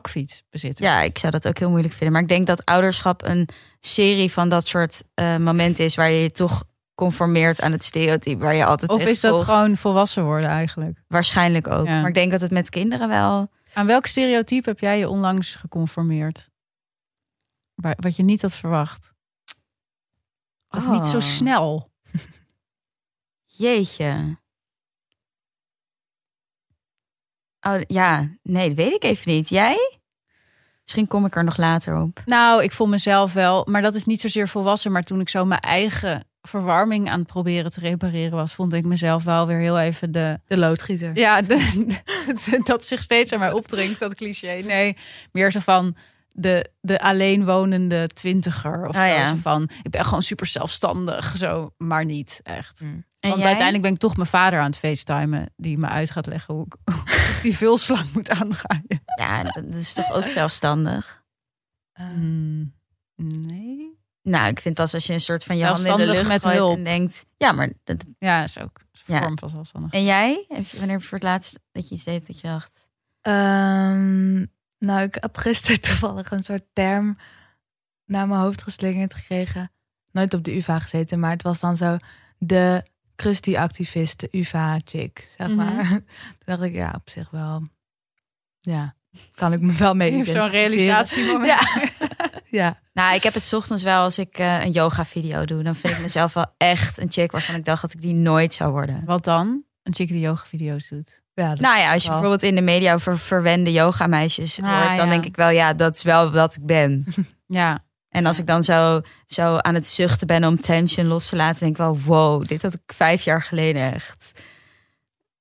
Speaker 3: bakfietsbezitters.
Speaker 1: Ja, ik zou dat ook heel moeilijk vinden. Maar ik denk dat ouderschap een serie van dat soort eh, momenten is waar je je toch conformeert aan het stereotype waar je altijd
Speaker 3: Of
Speaker 1: in
Speaker 3: is dat
Speaker 1: volgt.
Speaker 3: gewoon volwassen worden eigenlijk?
Speaker 1: waarschijnlijk ook.
Speaker 3: Ja.
Speaker 1: Maar ik denk dat het met kinderen wel.
Speaker 3: Aan welk stereotype heb jij je onlangs geconformeerd? Waar- Wat je niet had verwacht. Of niet zo
Speaker 2: Ah.
Speaker 1: Oh.
Speaker 3: snel.
Speaker 1: Jeetje. Oh ja, nee, dat weet ik even niet. Jij? Misschien kom ik er nog later op.
Speaker 3: Nou, ik voel mezelf wel, maar dat is niet zozeer volwassen. Maar toen ik zo mijn eigen verwarming aan het proberen te repareren was, vond ik mezelf wel weer heel even de.
Speaker 2: De loodgieter.
Speaker 3: Ja, *laughs* de- de- dat zich steeds aan mij opdringt, dat cliché. Nee, meer zo van. De, de alleenwonende twintiger of
Speaker 1: Ah,
Speaker 3: zo,
Speaker 1: ja.
Speaker 3: zo van ik ben gewoon super zelfstandig zo maar niet echt
Speaker 1: En
Speaker 3: Want
Speaker 1: jij?
Speaker 3: uiteindelijk ben ik toch mijn vader aan het facetimen. Die me uit gaat leggen hoe ik, hoe ik die vulslang moet aangaaien.
Speaker 1: Ja, dat is toch
Speaker 3: *laughs*
Speaker 1: ook zelfstandig?
Speaker 3: Mm, nee.
Speaker 1: Nou, ik vind pas als je een soort van je handen in de
Speaker 3: Zelfstandig
Speaker 1: lucht
Speaker 3: met
Speaker 1: gooit
Speaker 3: hulp.
Speaker 1: en denkt... Ja, maar... Dat...
Speaker 3: Ja, is ook een
Speaker 1: Ja.
Speaker 3: vorm van zelfstandig.
Speaker 1: En jij? Heb je- Wanneer voor het laatst dat je iets deed dat je dacht...
Speaker 2: Ehm, nou, ik had gisteren *laughs* toevallig een soort term naar mijn hoofd geslingerd gekregen. Nooit op de UvA gezeten, maar het was dan zo de crusty-activist, de UvA-chick, zeg
Speaker 3: Mhm.
Speaker 2: maar. *laughs* Toen dacht ik, ja, op zich wel. Ja, kan ik me
Speaker 3: *laughs*
Speaker 2: wel mee identificeren.
Speaker 3: Ja.
Speaker 2: Ja,
Speaker 1: Nou, ik heb het 's ochtends wel als ik eh, een yoga video doe. Dan vind ik mezelf wel echt een chick waarvan ik dacht dat ik die nooit zou worden.
Speaker 3: Wat dan? Een chick die yoga video's doet.
Speaker 2: ja dat-
Speaker 1: Nou ja, als je
Speaker 2: Wel.
Speaker 1: bijvoorbeeld in de media over verwende yoga meisjes
Speaker 3: Ah,
Speaker 1: hoort, dan
Speaker 3: ja.
Speaker 1: denk ik wel, ja, dat is wel wat ik ben.
Speaker 3: Ja.
Speaker 1: En als ik dan zo, zo aan het zuchten ben om tension los te laten, denk ik wel, wow, dit had ik vijf jaar geleden echt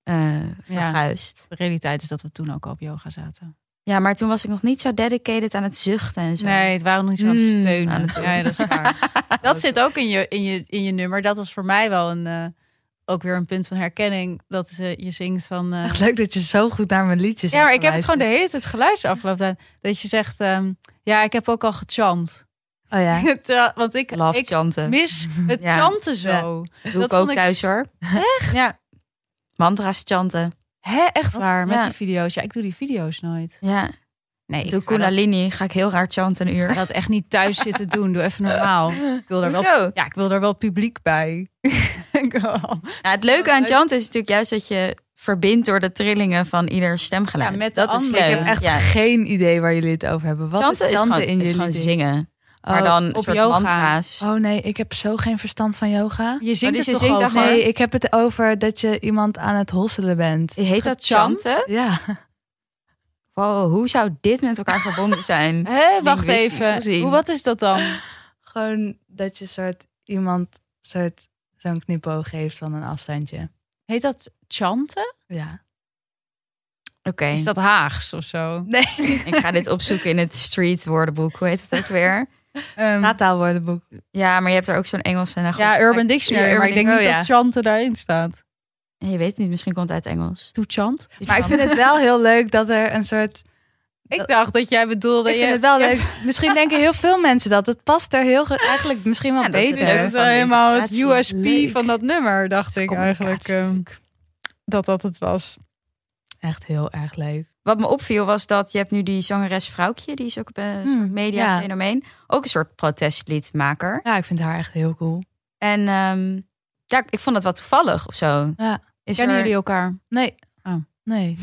Speaker 1: eh verguisd.
Speaker 3: De realiteit is dat we toen ook al op yoga zaten.
Speaker 1: Ja. maar toen was ik nog niet zo dedicated aan het zuchten en zo.
Speaker 3: Nee, het waren nog niet zo aan het
Speaker 1: Mm,
Speaker 3: steunen.
Speaker 1: aan het doen.
Speaker 3: ja, ja, dat is waar. *laughs* dat zit ook in je, in, je, in je nummer. Dat was voor mij wel een, eh, ook weer een punt van herkenning. Dat eh, je zingt van... eh,
Speaker 2: echt leuk dat je zo goed naar mijn liedjes
Speaker 3: Ja, maar ik heb het gewoon de
Speaker 2: geluisterd.
Speaker 3: hele tijd geluisterd afgelopen tijd. Dat je zegt, ehm, ja, ik heb ook al gechant.
Speaker 2: Oh ja,
Speaker 3: Terwijl- Want ik,
Speaker 1: Love
Speaker 3: ik
Speaker 1: chanten.
Speaker 3: mis het
Speaker 1: Ja.
Speaker 3: chanten zo.
Speaker 1: Doe
Speaker 3: dat
Speaker 1: ik
Speaker 3: vond
Speaker 1: ook
Speaker 3: ik
Speaker 1: thuis
Speaker 3: s-
Speaker 1: hoor. Echt? Ja. Mantra's chanten.
Speaker 3: Hè, echt
Speaker 1: Wat?
Speaker 3: waar, met
Speaker 1: Ja.
Speaker 3: die video's. Ja, ik doe die video's nooit.
Speaker 1: Ja. Doe
Speaker 3: Nee, ik ga dat,
Speaker 1: Kundalini, ga ik heel raar chanten een
Speaker 3: ik
Speaker 1: uur.
Speaker 3: ga dat echt niet *laughs* thuis zitten doen. Doe even normaal. Ik wil daar wel,
Speaker 1: Hoezo?
Speaker 3: ja, ik wil daar wel publiek bij. *laughs* Ik wel.
Speaker 1: Nou, het leuke aan chant is natuurlijk juist dat je verbindt door de trillingen van ieder stemgeluid.
Speaker 3: *laughs* Ja, met de
Speaker 1: dat is
Speaker 3: ander.
Speaker 1: leuk.
Speaker 3: Ik heb
Speaker 2: echt
Speaker 1: ja.
Speaker 2: geen idee waar jullie het over hebben. *laughs* Wat
Speaker 1: Chanten
Speaker 2: is
Speaker 1: is
Speaker 2: chanten
Speaker 1: gewoon,
Speaker 2: in
Speaker 1: is
Speaker 2: jullie
Speaker 1: gewoon
Speaker 2: ding?
Speaker 1: zingen. Maar
Speaker 2: Oh,
Speaker 1: dan een
Speaker 3: op
Speaker 1: soort
Speaker 3: yoga.
Speaker 1: mantra's.
Speaker 2: Oh nee, ik heb zo geen verstand van yoga.
Speaker 3: Je Oh, zingt
Speaker 1: dus
Speaker 3: het
Speaker 1: je
Speaker 3: toch
Speaker 1: zingt
Speaker 3: over?
Speaker 1: af- Maar-
Speaker 2: Nee, ik heb het over dat je iemand aan het hosselen bent.
Speaker 1: Heet dat
Speaker 3: Gechant?
Speaker 1: chanten?
Speaker 2: Ja.
Speaker 1: Wow, hoe zou dit met elkaar verbonden zijn?
Speaker 3: Hè, wacht
Speaker 1: Linguistisch
Speaker 3: even.
Speaker 1: gezien.
Speaker 3: Hoe, wat is dat dan?
Speaker 2: Gewoon dat je soort iemand soort zo'n knipoog geeft van een afstandje.
Speaker 3: Heet dat chanten?
Speaker 2: Ja.
Speaker 1: Oké,
Speaker 3: Is dat Haags of zo?
Speaker 2: Nee.
Speaker 1: ik ga dit opzoeken in het street woordenboek. Hoe heet het ook weer?
Speaker 3: Ehm,
Speaker 2: Taalwoordenboek.
Speaker 1: Ja, maar je hebt er ook zo'n Engelse. Nou goed,
Speaker 3: ja, Urban Dictionary. Oh,
Speaker 1: Ja,
Speaker 3: maar ik denk niet
Speaker 1: Urban Dic-
Speaker 3: dat chanten daarin staat.
Speaker 1: oh, ja. Je weet het niet, misschien komt het uit Engels.
Speaker 3: Doe chant?
Speaker 2: Maar ik vind het wel heel leuk dat er een soort...
Speaker 3: Ik dacht dat jij bedoelde.
Speaker 2: Ik
Speaker 3: je-
Speaker 2: vind het wel
Speaker 3: je-
Speaker 2: leuk. Misschien denken heel veel mensen dat. Het past er heel... ge- Eigenlijk misschien wel
Speaker 1: Ja, dat is het
Speaker 2: beter.
Speaker 3: Het is
Speaker 1: leuke.
Speaker 3: wel
Speaker 1: van de
Speaker 3: helemaal het
Speaker 1: interpretatie.
Speaker 3: USP
Speaker 2: Leuk.
Speaker 3: van dat nummer, dacht ik eigenlijk.
Speaker 2: communicatie.
Speaker 3: ehm, dat dat het was.
Speaker 2: Echt heel erg leuk.
Speaker 1: Wat me opviel was dat je hebt nu die zangeres Vrouwtje, die is ook een
Speaker 2: Hmm,
Speaker 1: soort media fenomeen, ook een soort protestliedmaker.
Speaker 2: Ja, ik vind haar echt heel cool.
Speaker 1: En ehm, ja, ik vond dat wat toevallig of zo.
Speaker 2: Ja.
Speaker 1: Is
Speaker 3: Kennen
Speaker 1: er-
Speaker 3: jullie elkaar?
Speaker 2: Nee.
Speaker 3: Oh.
Speaker 2: Nee.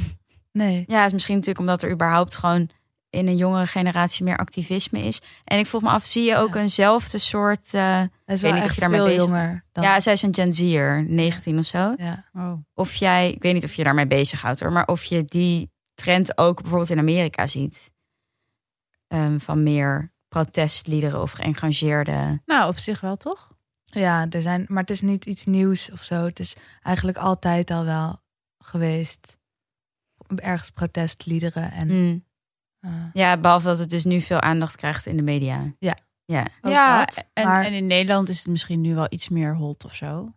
Speaker 2: Nee.
Speaker 1: Ja, is misschien natuurlijk omdat er überhaupt gewoon in een jongere generatie meer activisme is. En ik vroeg me af, zie je ook
Speaker 2: Ja.
Speaker 1: eenzelfde soort... eh,
Speaker 2: Hij is
Speaker 1: weet
Speaker 2: wel
Speaker 1: niet of
Speaker 2: echt
Speaker 1: je daarmee
Speaker 2: veel
Speaker 1: bezig
Speaker 2: jonger dan...
Speaker 1: ja, zij is een Gen Z'er, 19 of zo.
Speaker 2: ja.
Speaker 3: Oh.
Speaker 1: Of jij, ik weet niet of je daarmee bezighoudt hoor, maar of je die trend ook bijvoorbeeld in Amerika ziet. Ehm, van meer protestliederen of geëngageerde...
Speaker 3: Nou, op zich wel toch?
Speaker 2: Ja, er zijn, maar het is niet iets nieuws of zo. Het is eigenlijk altijd al wel geweest. Ergens protestliederen en
Speaker 1: Mm.
Speaker 2: eh,
Speaker 1: Ja, behalve dat het dus nu veel aandacht krijgt in de media.
Speaker 2: Ja.
Speaker 1: Ja.
Speaker 2: ook
Speaker 3: ja,
Speaker 2: dat.
Speaker 3: en,
Speaker 2: maar
Speaker 3: en in Nederland is het misschien nu wel iets meer hot of zo.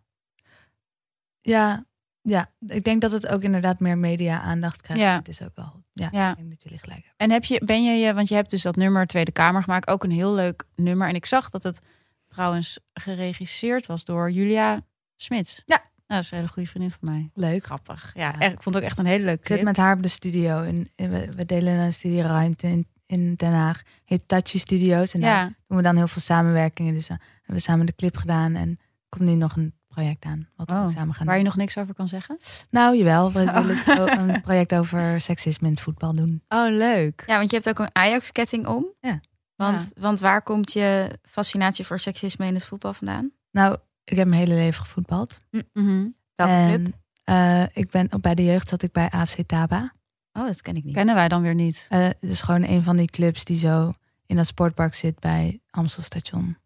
Speaker 2: ja, ja, ik denk dat het ook inderdaad meer media-aandacht krijgt.
Speaker 3: Ja.
Speaker 2: Het is ook wel. Ja,
Speaker 3: Ja.
Speaker 2: ik denk dat jullie gelijk hebben.
Speaker 3: En heb je, ben je je, want je hebt dus dat nummer Tweede Kamer gemaakt, ook een heel leuk nummer. En ik zag dat het trouwens geregisseerd was door Julia Smits.
Speaker 2: Ja.
Speaker 3: Nou, dat is een hele goede vriendin van mij.
Speaker 2: Leuk.
Speaker 3: Grappig. Ja,
Speaker 2: Ja.
Speaker 3: echt, ik vond het ook echt een hele leuke
Speaker 2: Ik zit
Speaker 3: clip.
Speaker 2: met haar op de studio. En en we, we delen een studieruimte in, in Den Haag. Heet Touchy Studios. En daar
Speaker 3: ja.
Speaker 2: doen we dan heel veel samenwerkingen. Dus eh, hebben we samen de clip gedaan. En er komt nu nog een project aan. Wat we
Speaker 3: Oh,
Speaker 2: ook samen gaan
Speaker 3: Waar je
Speaker 2: doen.
Speaker 3: nog niks over kan zeggen?
Speaker 2: Nou, jawel. We
Speaker 1: Oh.
Speaker 2: willen het o- een project over seksisme in het voetbal doen.
Speaker 3: Oh, leuk.
Speaker 1: Ja, want je hebt ook een Ajax-ketting om.
Speaker 2: Ja.
Speaker 1: Want, want waar komt je fascinatie voor seksisme in het voetbal vandaan?
Speaker 2: Nou, ik heb mijn hele leven gevoetbald.
Speaker 3: Mhm.
Speaker 1: Welke
Speaker 2: en,
Speaker 1: club?
Speaker 2: eh, ik ben, op- bij de jeugd zat ik bij AFC Taba.
Speaker 1: Oh, dat ken ik niet.
Speaker 3: Kennen wij dan weer niet.
Speaker 2: Eh, Het is gewoon een van die clubs die zo in dat sportpark zit bij Amstelstation.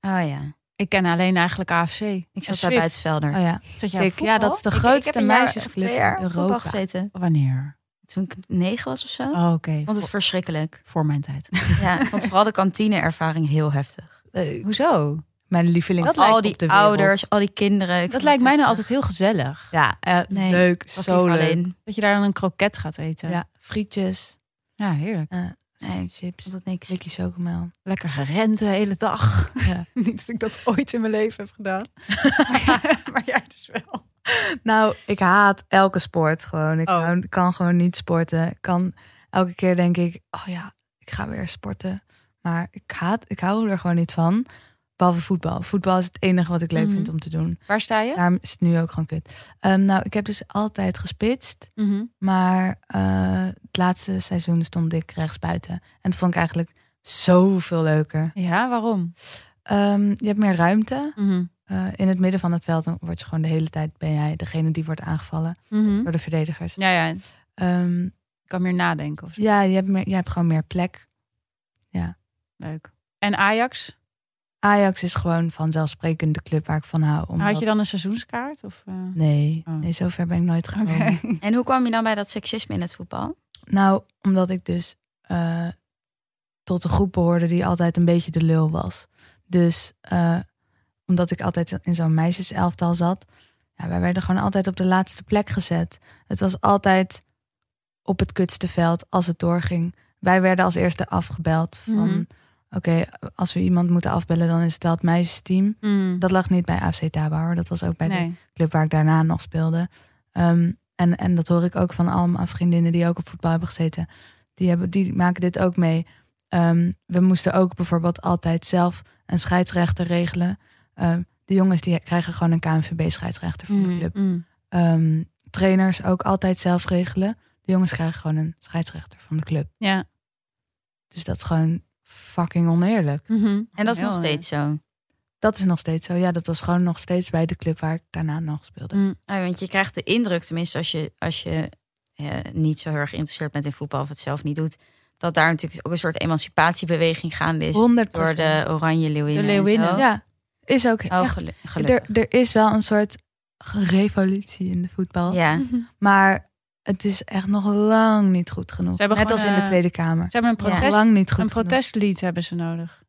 Speaker 1: Oh ja,
Speaker 3: Ik ken alleen eigenlijk AFC.
Speaker 1: ik
Speaker 3: En
Speaker 1: zat daar
Speaker 3: Zwift.
Speaker 1: bij het velder.
Speaker 2: Oh ja,
Speaker 3: Zat jij op
Speaker 2: zeker. Ja, dat is de
Speaker 1: Ik-
Speaker 2: grootste
Speaker 1: ik heb een jaar of
Speaker 2: meisjesclub
Speaker 1: twee jaar
Speaker 2: in
Speaker 1: op voetbal
Speaker 2: Europa.
Speaker 1: gezeten.
Speaker 3: voetbal? Wanneer?
Speaker 1: Toen ik negen was of zo.
Speaker 3: Oh, Oké.
Speaker 1: Vond het
Speaker 3: Voor- *laughs*
Speaker 1: verschrikkelijk.
Speaker 3: voor mijn tijd.
Speaker 1: Ja, ik vond vooral de kantine-ervaring heel heftig.
Speaker 3: Hoezo?
Speaker 2: Mijn lieveling.
Speaker 3: Dat
Speaker 1: al
Speaker 3: lijkt op
Speaker 1: die
Speaker 3: de wereld.
Speaker 1: ouders, al die kinderen. Ik vond
Speaker 3: dat lijkt
Speaker 1: het
Speaker 3: mij
Speaker 1: heftig.
Speaker 3: nou altijd heel gezellig.
Speaker 2: Ja, eh,
Speaker 1: Nee,
Speaker 2: leuk.
Speaker 1: was
Speaker 2: zo
Speaker 1: liever
Speaker 2: leuk.
Speaker 1: alleen.
Speaker 3: Dat je daar dan een kroket gaat eten.
Speaker 2: Ja, frietjes,
Speaker 3: ja heerlijk.
Speaker 2: eh,
Speaker 1: Nee,
Speaker 2: chips,
Speaker 1: Ik vond het niks.
Speaker 2: stukje chocomel.
Speaker 3: Lekker gerend de hele dag.
Speaker 2: Ja.
Speaker 3: *laughs* Niet dat ik dat ooit in mijn leven heb gedaan. *laughs* maar, maar jij dus wel.
Speaker 2: Nou, ik haat elke sport gewoon. Ik
Speaker 3: Oh.
Speaker 2: hou- kan gewoon niet sporten. Ik kan elke keer denk ik, oh ja, ik ga weer sporten. Maar ik haat, ik hou er gewoon niet van. Behalve voetbal. Voetbal is het enige wat ik leuk
Speaker 3: Mhm.
Speaker 2: vind om te doen.
Speaker 3: Waar sta je?
Speaker 2: Daarom is het nu ook gewoon kut. Ehm, nou, ik heb dus altijd gespitst.
Speaker 3: Mhm.
Speaker 2: Maar eh, het laatste seizoen stond ik rechts buiten. En dat vond ik eigenlijk zoveel leuker.
Speaker 3: Ja, waarom? Mhm.
Speaker 2: Ehm, je hebt meer ruimte. Eh, in het midden van het veld dan word je gewoon de hele tijd ben jij degene die wordt aangevallen door de verdedigers.
Speaker 3: Mhm. Ja, ja, ik
Speaker 2: Ehm,
Speaker 3: kan meer nadenken of zo.
Speaker 2: ja, je hebt, meer, je hebt gewoon meer plek.
Speaker 3: Leuk. En Ajax?
Speaker 2: Ajax is gewoon vanzelfsprekend de club waar ik van hou. Omdat...
Speaker 3: Had je dan een seizoenskaart? Of, eh?
Speaker 2: Nee,
Speaker 3: Oh.
Speaker 2: nee, zover ben ik nooit gekomen.
Speaker 1: En hoe kwam je dan bij dat seksisme in het voetbal?
Speaker 2: Nou, omdat ik dus eh, tot de groep behoorde die altijd een beetje de lul was. Dus eh, omdat ik altijd in zo'n meisjeselftal zat, ja, wij werden gewoon altijd op de laatste plek gezet. Het was altijd op het kutste veld als het doorging. Wij werden als eerste afgebeld van,
Speaker 3: Mhm.
Speaker 2: oké, als we iemand moeten afbellen, dan is het wel het meisjesteam.
Speaker 3: Mm. *laughs*
Speaker 2: Dat lag niet bij AFC Tabar, hoor. dat was ook bij de
Speaker 3: nee.
Speaker 2: club waar ik daarna nog speelde. Ehm, en, en dat hoor ik ook van al mijn vriendinnen die ook op voetbal hebben gezeten. Die, hebben, die maken dit ook mee. Ehm, we moesten ook bijvoorbeeld altijd zelf een scheidsrechter regelen. Ehm, de jongens die krijgen gewoon een KNVB-scheidsrechter van de
Speaker 1: Mm.
Speaker 2: club.
Speaker 3: Mm.
Speaker 2: Ehm, trainers ook altijd zelf regelen. De jongens krijgen gewoon een scheidsrechter van de club.
Speaker 3: Ja.
Speaker 2: Dus dat is gewoon fucking oneerlijk.
Speaker 3: Mhm.
Speaker 1: En dat is nog steeds zo.
Speaker 2: Dat is nog steeds zo. Ja, dat was gewoon nog steeds bij de club waar ik daarna nog speelde.
Speaker 1: Ah, want je krijgt de indruk, tenminste als je, als je eh, niet zo heel erg geïnteresseerd bent in voetbal of het zelf niet doet, dat daar natuurlijk ook een soort emancipatiebeweging gaande is
Speaker 2: 100
Speaker 1: Mm. door de Oranje Leeuwinnen.
Speaker 3: De Leeuwinnen,
Speaker 1: en zo.
Speaker 2: Ja, is ook
Speaker 1: Oh,
Speaker 2: echt
Speaker 1: gelu-
Speaker 2: Er,
Speaker 1: gelukkig.
Speaker 2: er is wel een soort revolutie in de voetbal.
Speaker 3: eh.
Speaker 1: Ja.
Speaker 3: Mhm.
Speaker 2: Maar het is echt nog lang niet goed genoeg.
Speaker 3: Ze hebben
Speaker 2: Net
Speaker 3: gewoon,
Speaker 2: als in de
Speaker 3: eh,
Speaker 2: Tweede Kamer.
Speaker 3: Ze hebben een
Speaker 1: Ja.
Speaker 3: protest.
Speaker 2: lang niet goed
Speaker 3: een protestlied hebben ze nodig.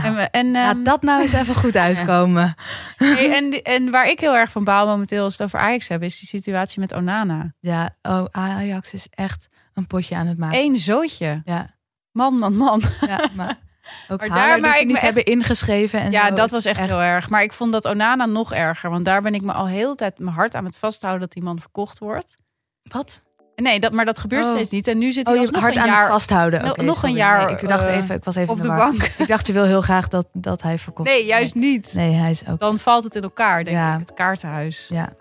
Speaker 2: genoeg.
Speaker 3: En,
Speaker 2: Nou,
Speaker 3: we- en, ehm,
Speaker 2: *laughs* laat dat nou eens even
Speaker 3: *laughs*
Speaker 2: goed uitkomen.
Speaker 3: hey, en, die- en waar ik heel erg van baal momenteel als we het over Ajax hebben, is die situatie met Onana.
Speaker 2: Ja, oh, Ajax is echt een potje aan het maken.
Speaker 3: Eén zootje.
Speaker 2: Ja,
Speaker 3: Man, man, man.
Speaker 2: ja,
Speaker 3: *laughs*
Speaker 2: maar ook
Speaker 3: Maar
Speaker 2: maar
Speaker 3: daar
Speaker 2: daar,
Speaker 3: maak
Speaker 2: dus
Speaker 3: ik
Speaker 2: niet
Speaker 3: me echt-
Speaker 2: hebben ingeschreven. En
Speaker 3: Ja,
Speaker 2: zo.
Speaker 3: dat
Speaker 2: Het
Speaker 3: was
Speaker 2: is
Speaker 3: echt, heel erg. Maar ik vond dat Onana nog erger. Want daar ben ik me al heel de tijd mijn hart aan het vasthouden dat die man verkocht wordt.
Speaker 2: Wat?
Speaker 3: Nee, dat, maar dat gebeurt
Speaker 2: Oh.
Speaker 3: steeds niet. En nu zit
Speaker 2: Oh,
Speaker 3: hij
Speaker 2: je
Speaker 3: alsnog
Speaker 2: hard
Speaker 3: een
Speaker 2: aan het
Speaker 3: jaar
Speaker 2: vasthouden.
Speaker 3: No-
Speaker 2: Oké,
Speaker 3: nog een
Speaker 2: sorry.
Speaker 3: jaar,
Speaker 2: Nee, ik, dacht
Speaker 3: eh,
Speaker 2: even, ik was even
Speaker 3: op
Speaker 2: in
Speaker 3: de
Speaker 2: war.
Speaker 3: bank.
Speaker 2: Ik dacht, je wil heel graag dat, dat hij
Speaker 3: *laughs*
Speaker 2: verkocht
Speaker 3: Nee, juist niet.
Speaker 2: Nee, hij is ook...
Speaker 3: Dan valt het in elkaar, denk
Speaker 2: Ja.
Speaker 3: ik. Het kaartenhuis.
Speaker 2: Ja,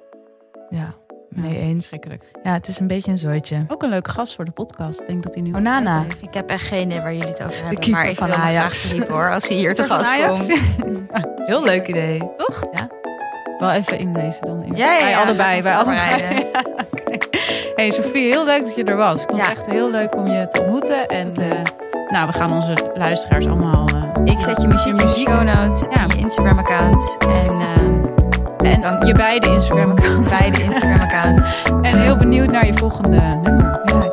Speaker 2: ja mee eens.
Speaker 3: Schrikkelijk.
Speaker 2: Ja, het is een beetje een zooitje.
Speaker 3: Ook een leuke gast voor de podcast. Ik denk dat hij nu...
Speaker 2: Onana.
Speaker 1: Ik heb echt geen idee waar jullie het over hebben,
Speaker 2: keeper
Speaker 1: maar ik
Speaker 2: van
Speaker 1: wil hem graag
Speaker 2: Ajax.
Speaker 1: zien hoor, als hij hier te
Speaker 3: Keeper van
Speaker 1: gast
Speaker 3: Ajax?
Speaker 1: komt.
Speaker 2: Heel leuk idee.
Speaker 3: Toch?
Speaker 2: Ja.
Speaker 3: Wel even inlezen dan.
Speaker 1: Ja, ja,
Speaker 3: Bij
Speaker 1: ja,
Speaker 3: allebei. Bij
Speaker 1: ga ik me
Speaker 3: allebei. *laughs* Hey Sofie, heel leuk dat je er was. Ik vond
Speaker 1: Ja.
Speaker 3: het echt heel leuk om je te ontmoeten. En eh, nou, we gaan onze luisteraars allemaal... eh,
Speaker 1: Ik zet je muziek in de
Speaker 3: muziek.
Speaker 1: show notes,
Speaker 3: Ja.
Speaker 1: en je Instagram account en ehm,
Speaker 3: en
Speaker 1: Dank.
Speaker 3: je beide Instagram account.
Speaker 1: beide Instagram accounts.
Speaker 3: En heel benieuwd naar je volgende nummer.
Speaker 2: Ja, ik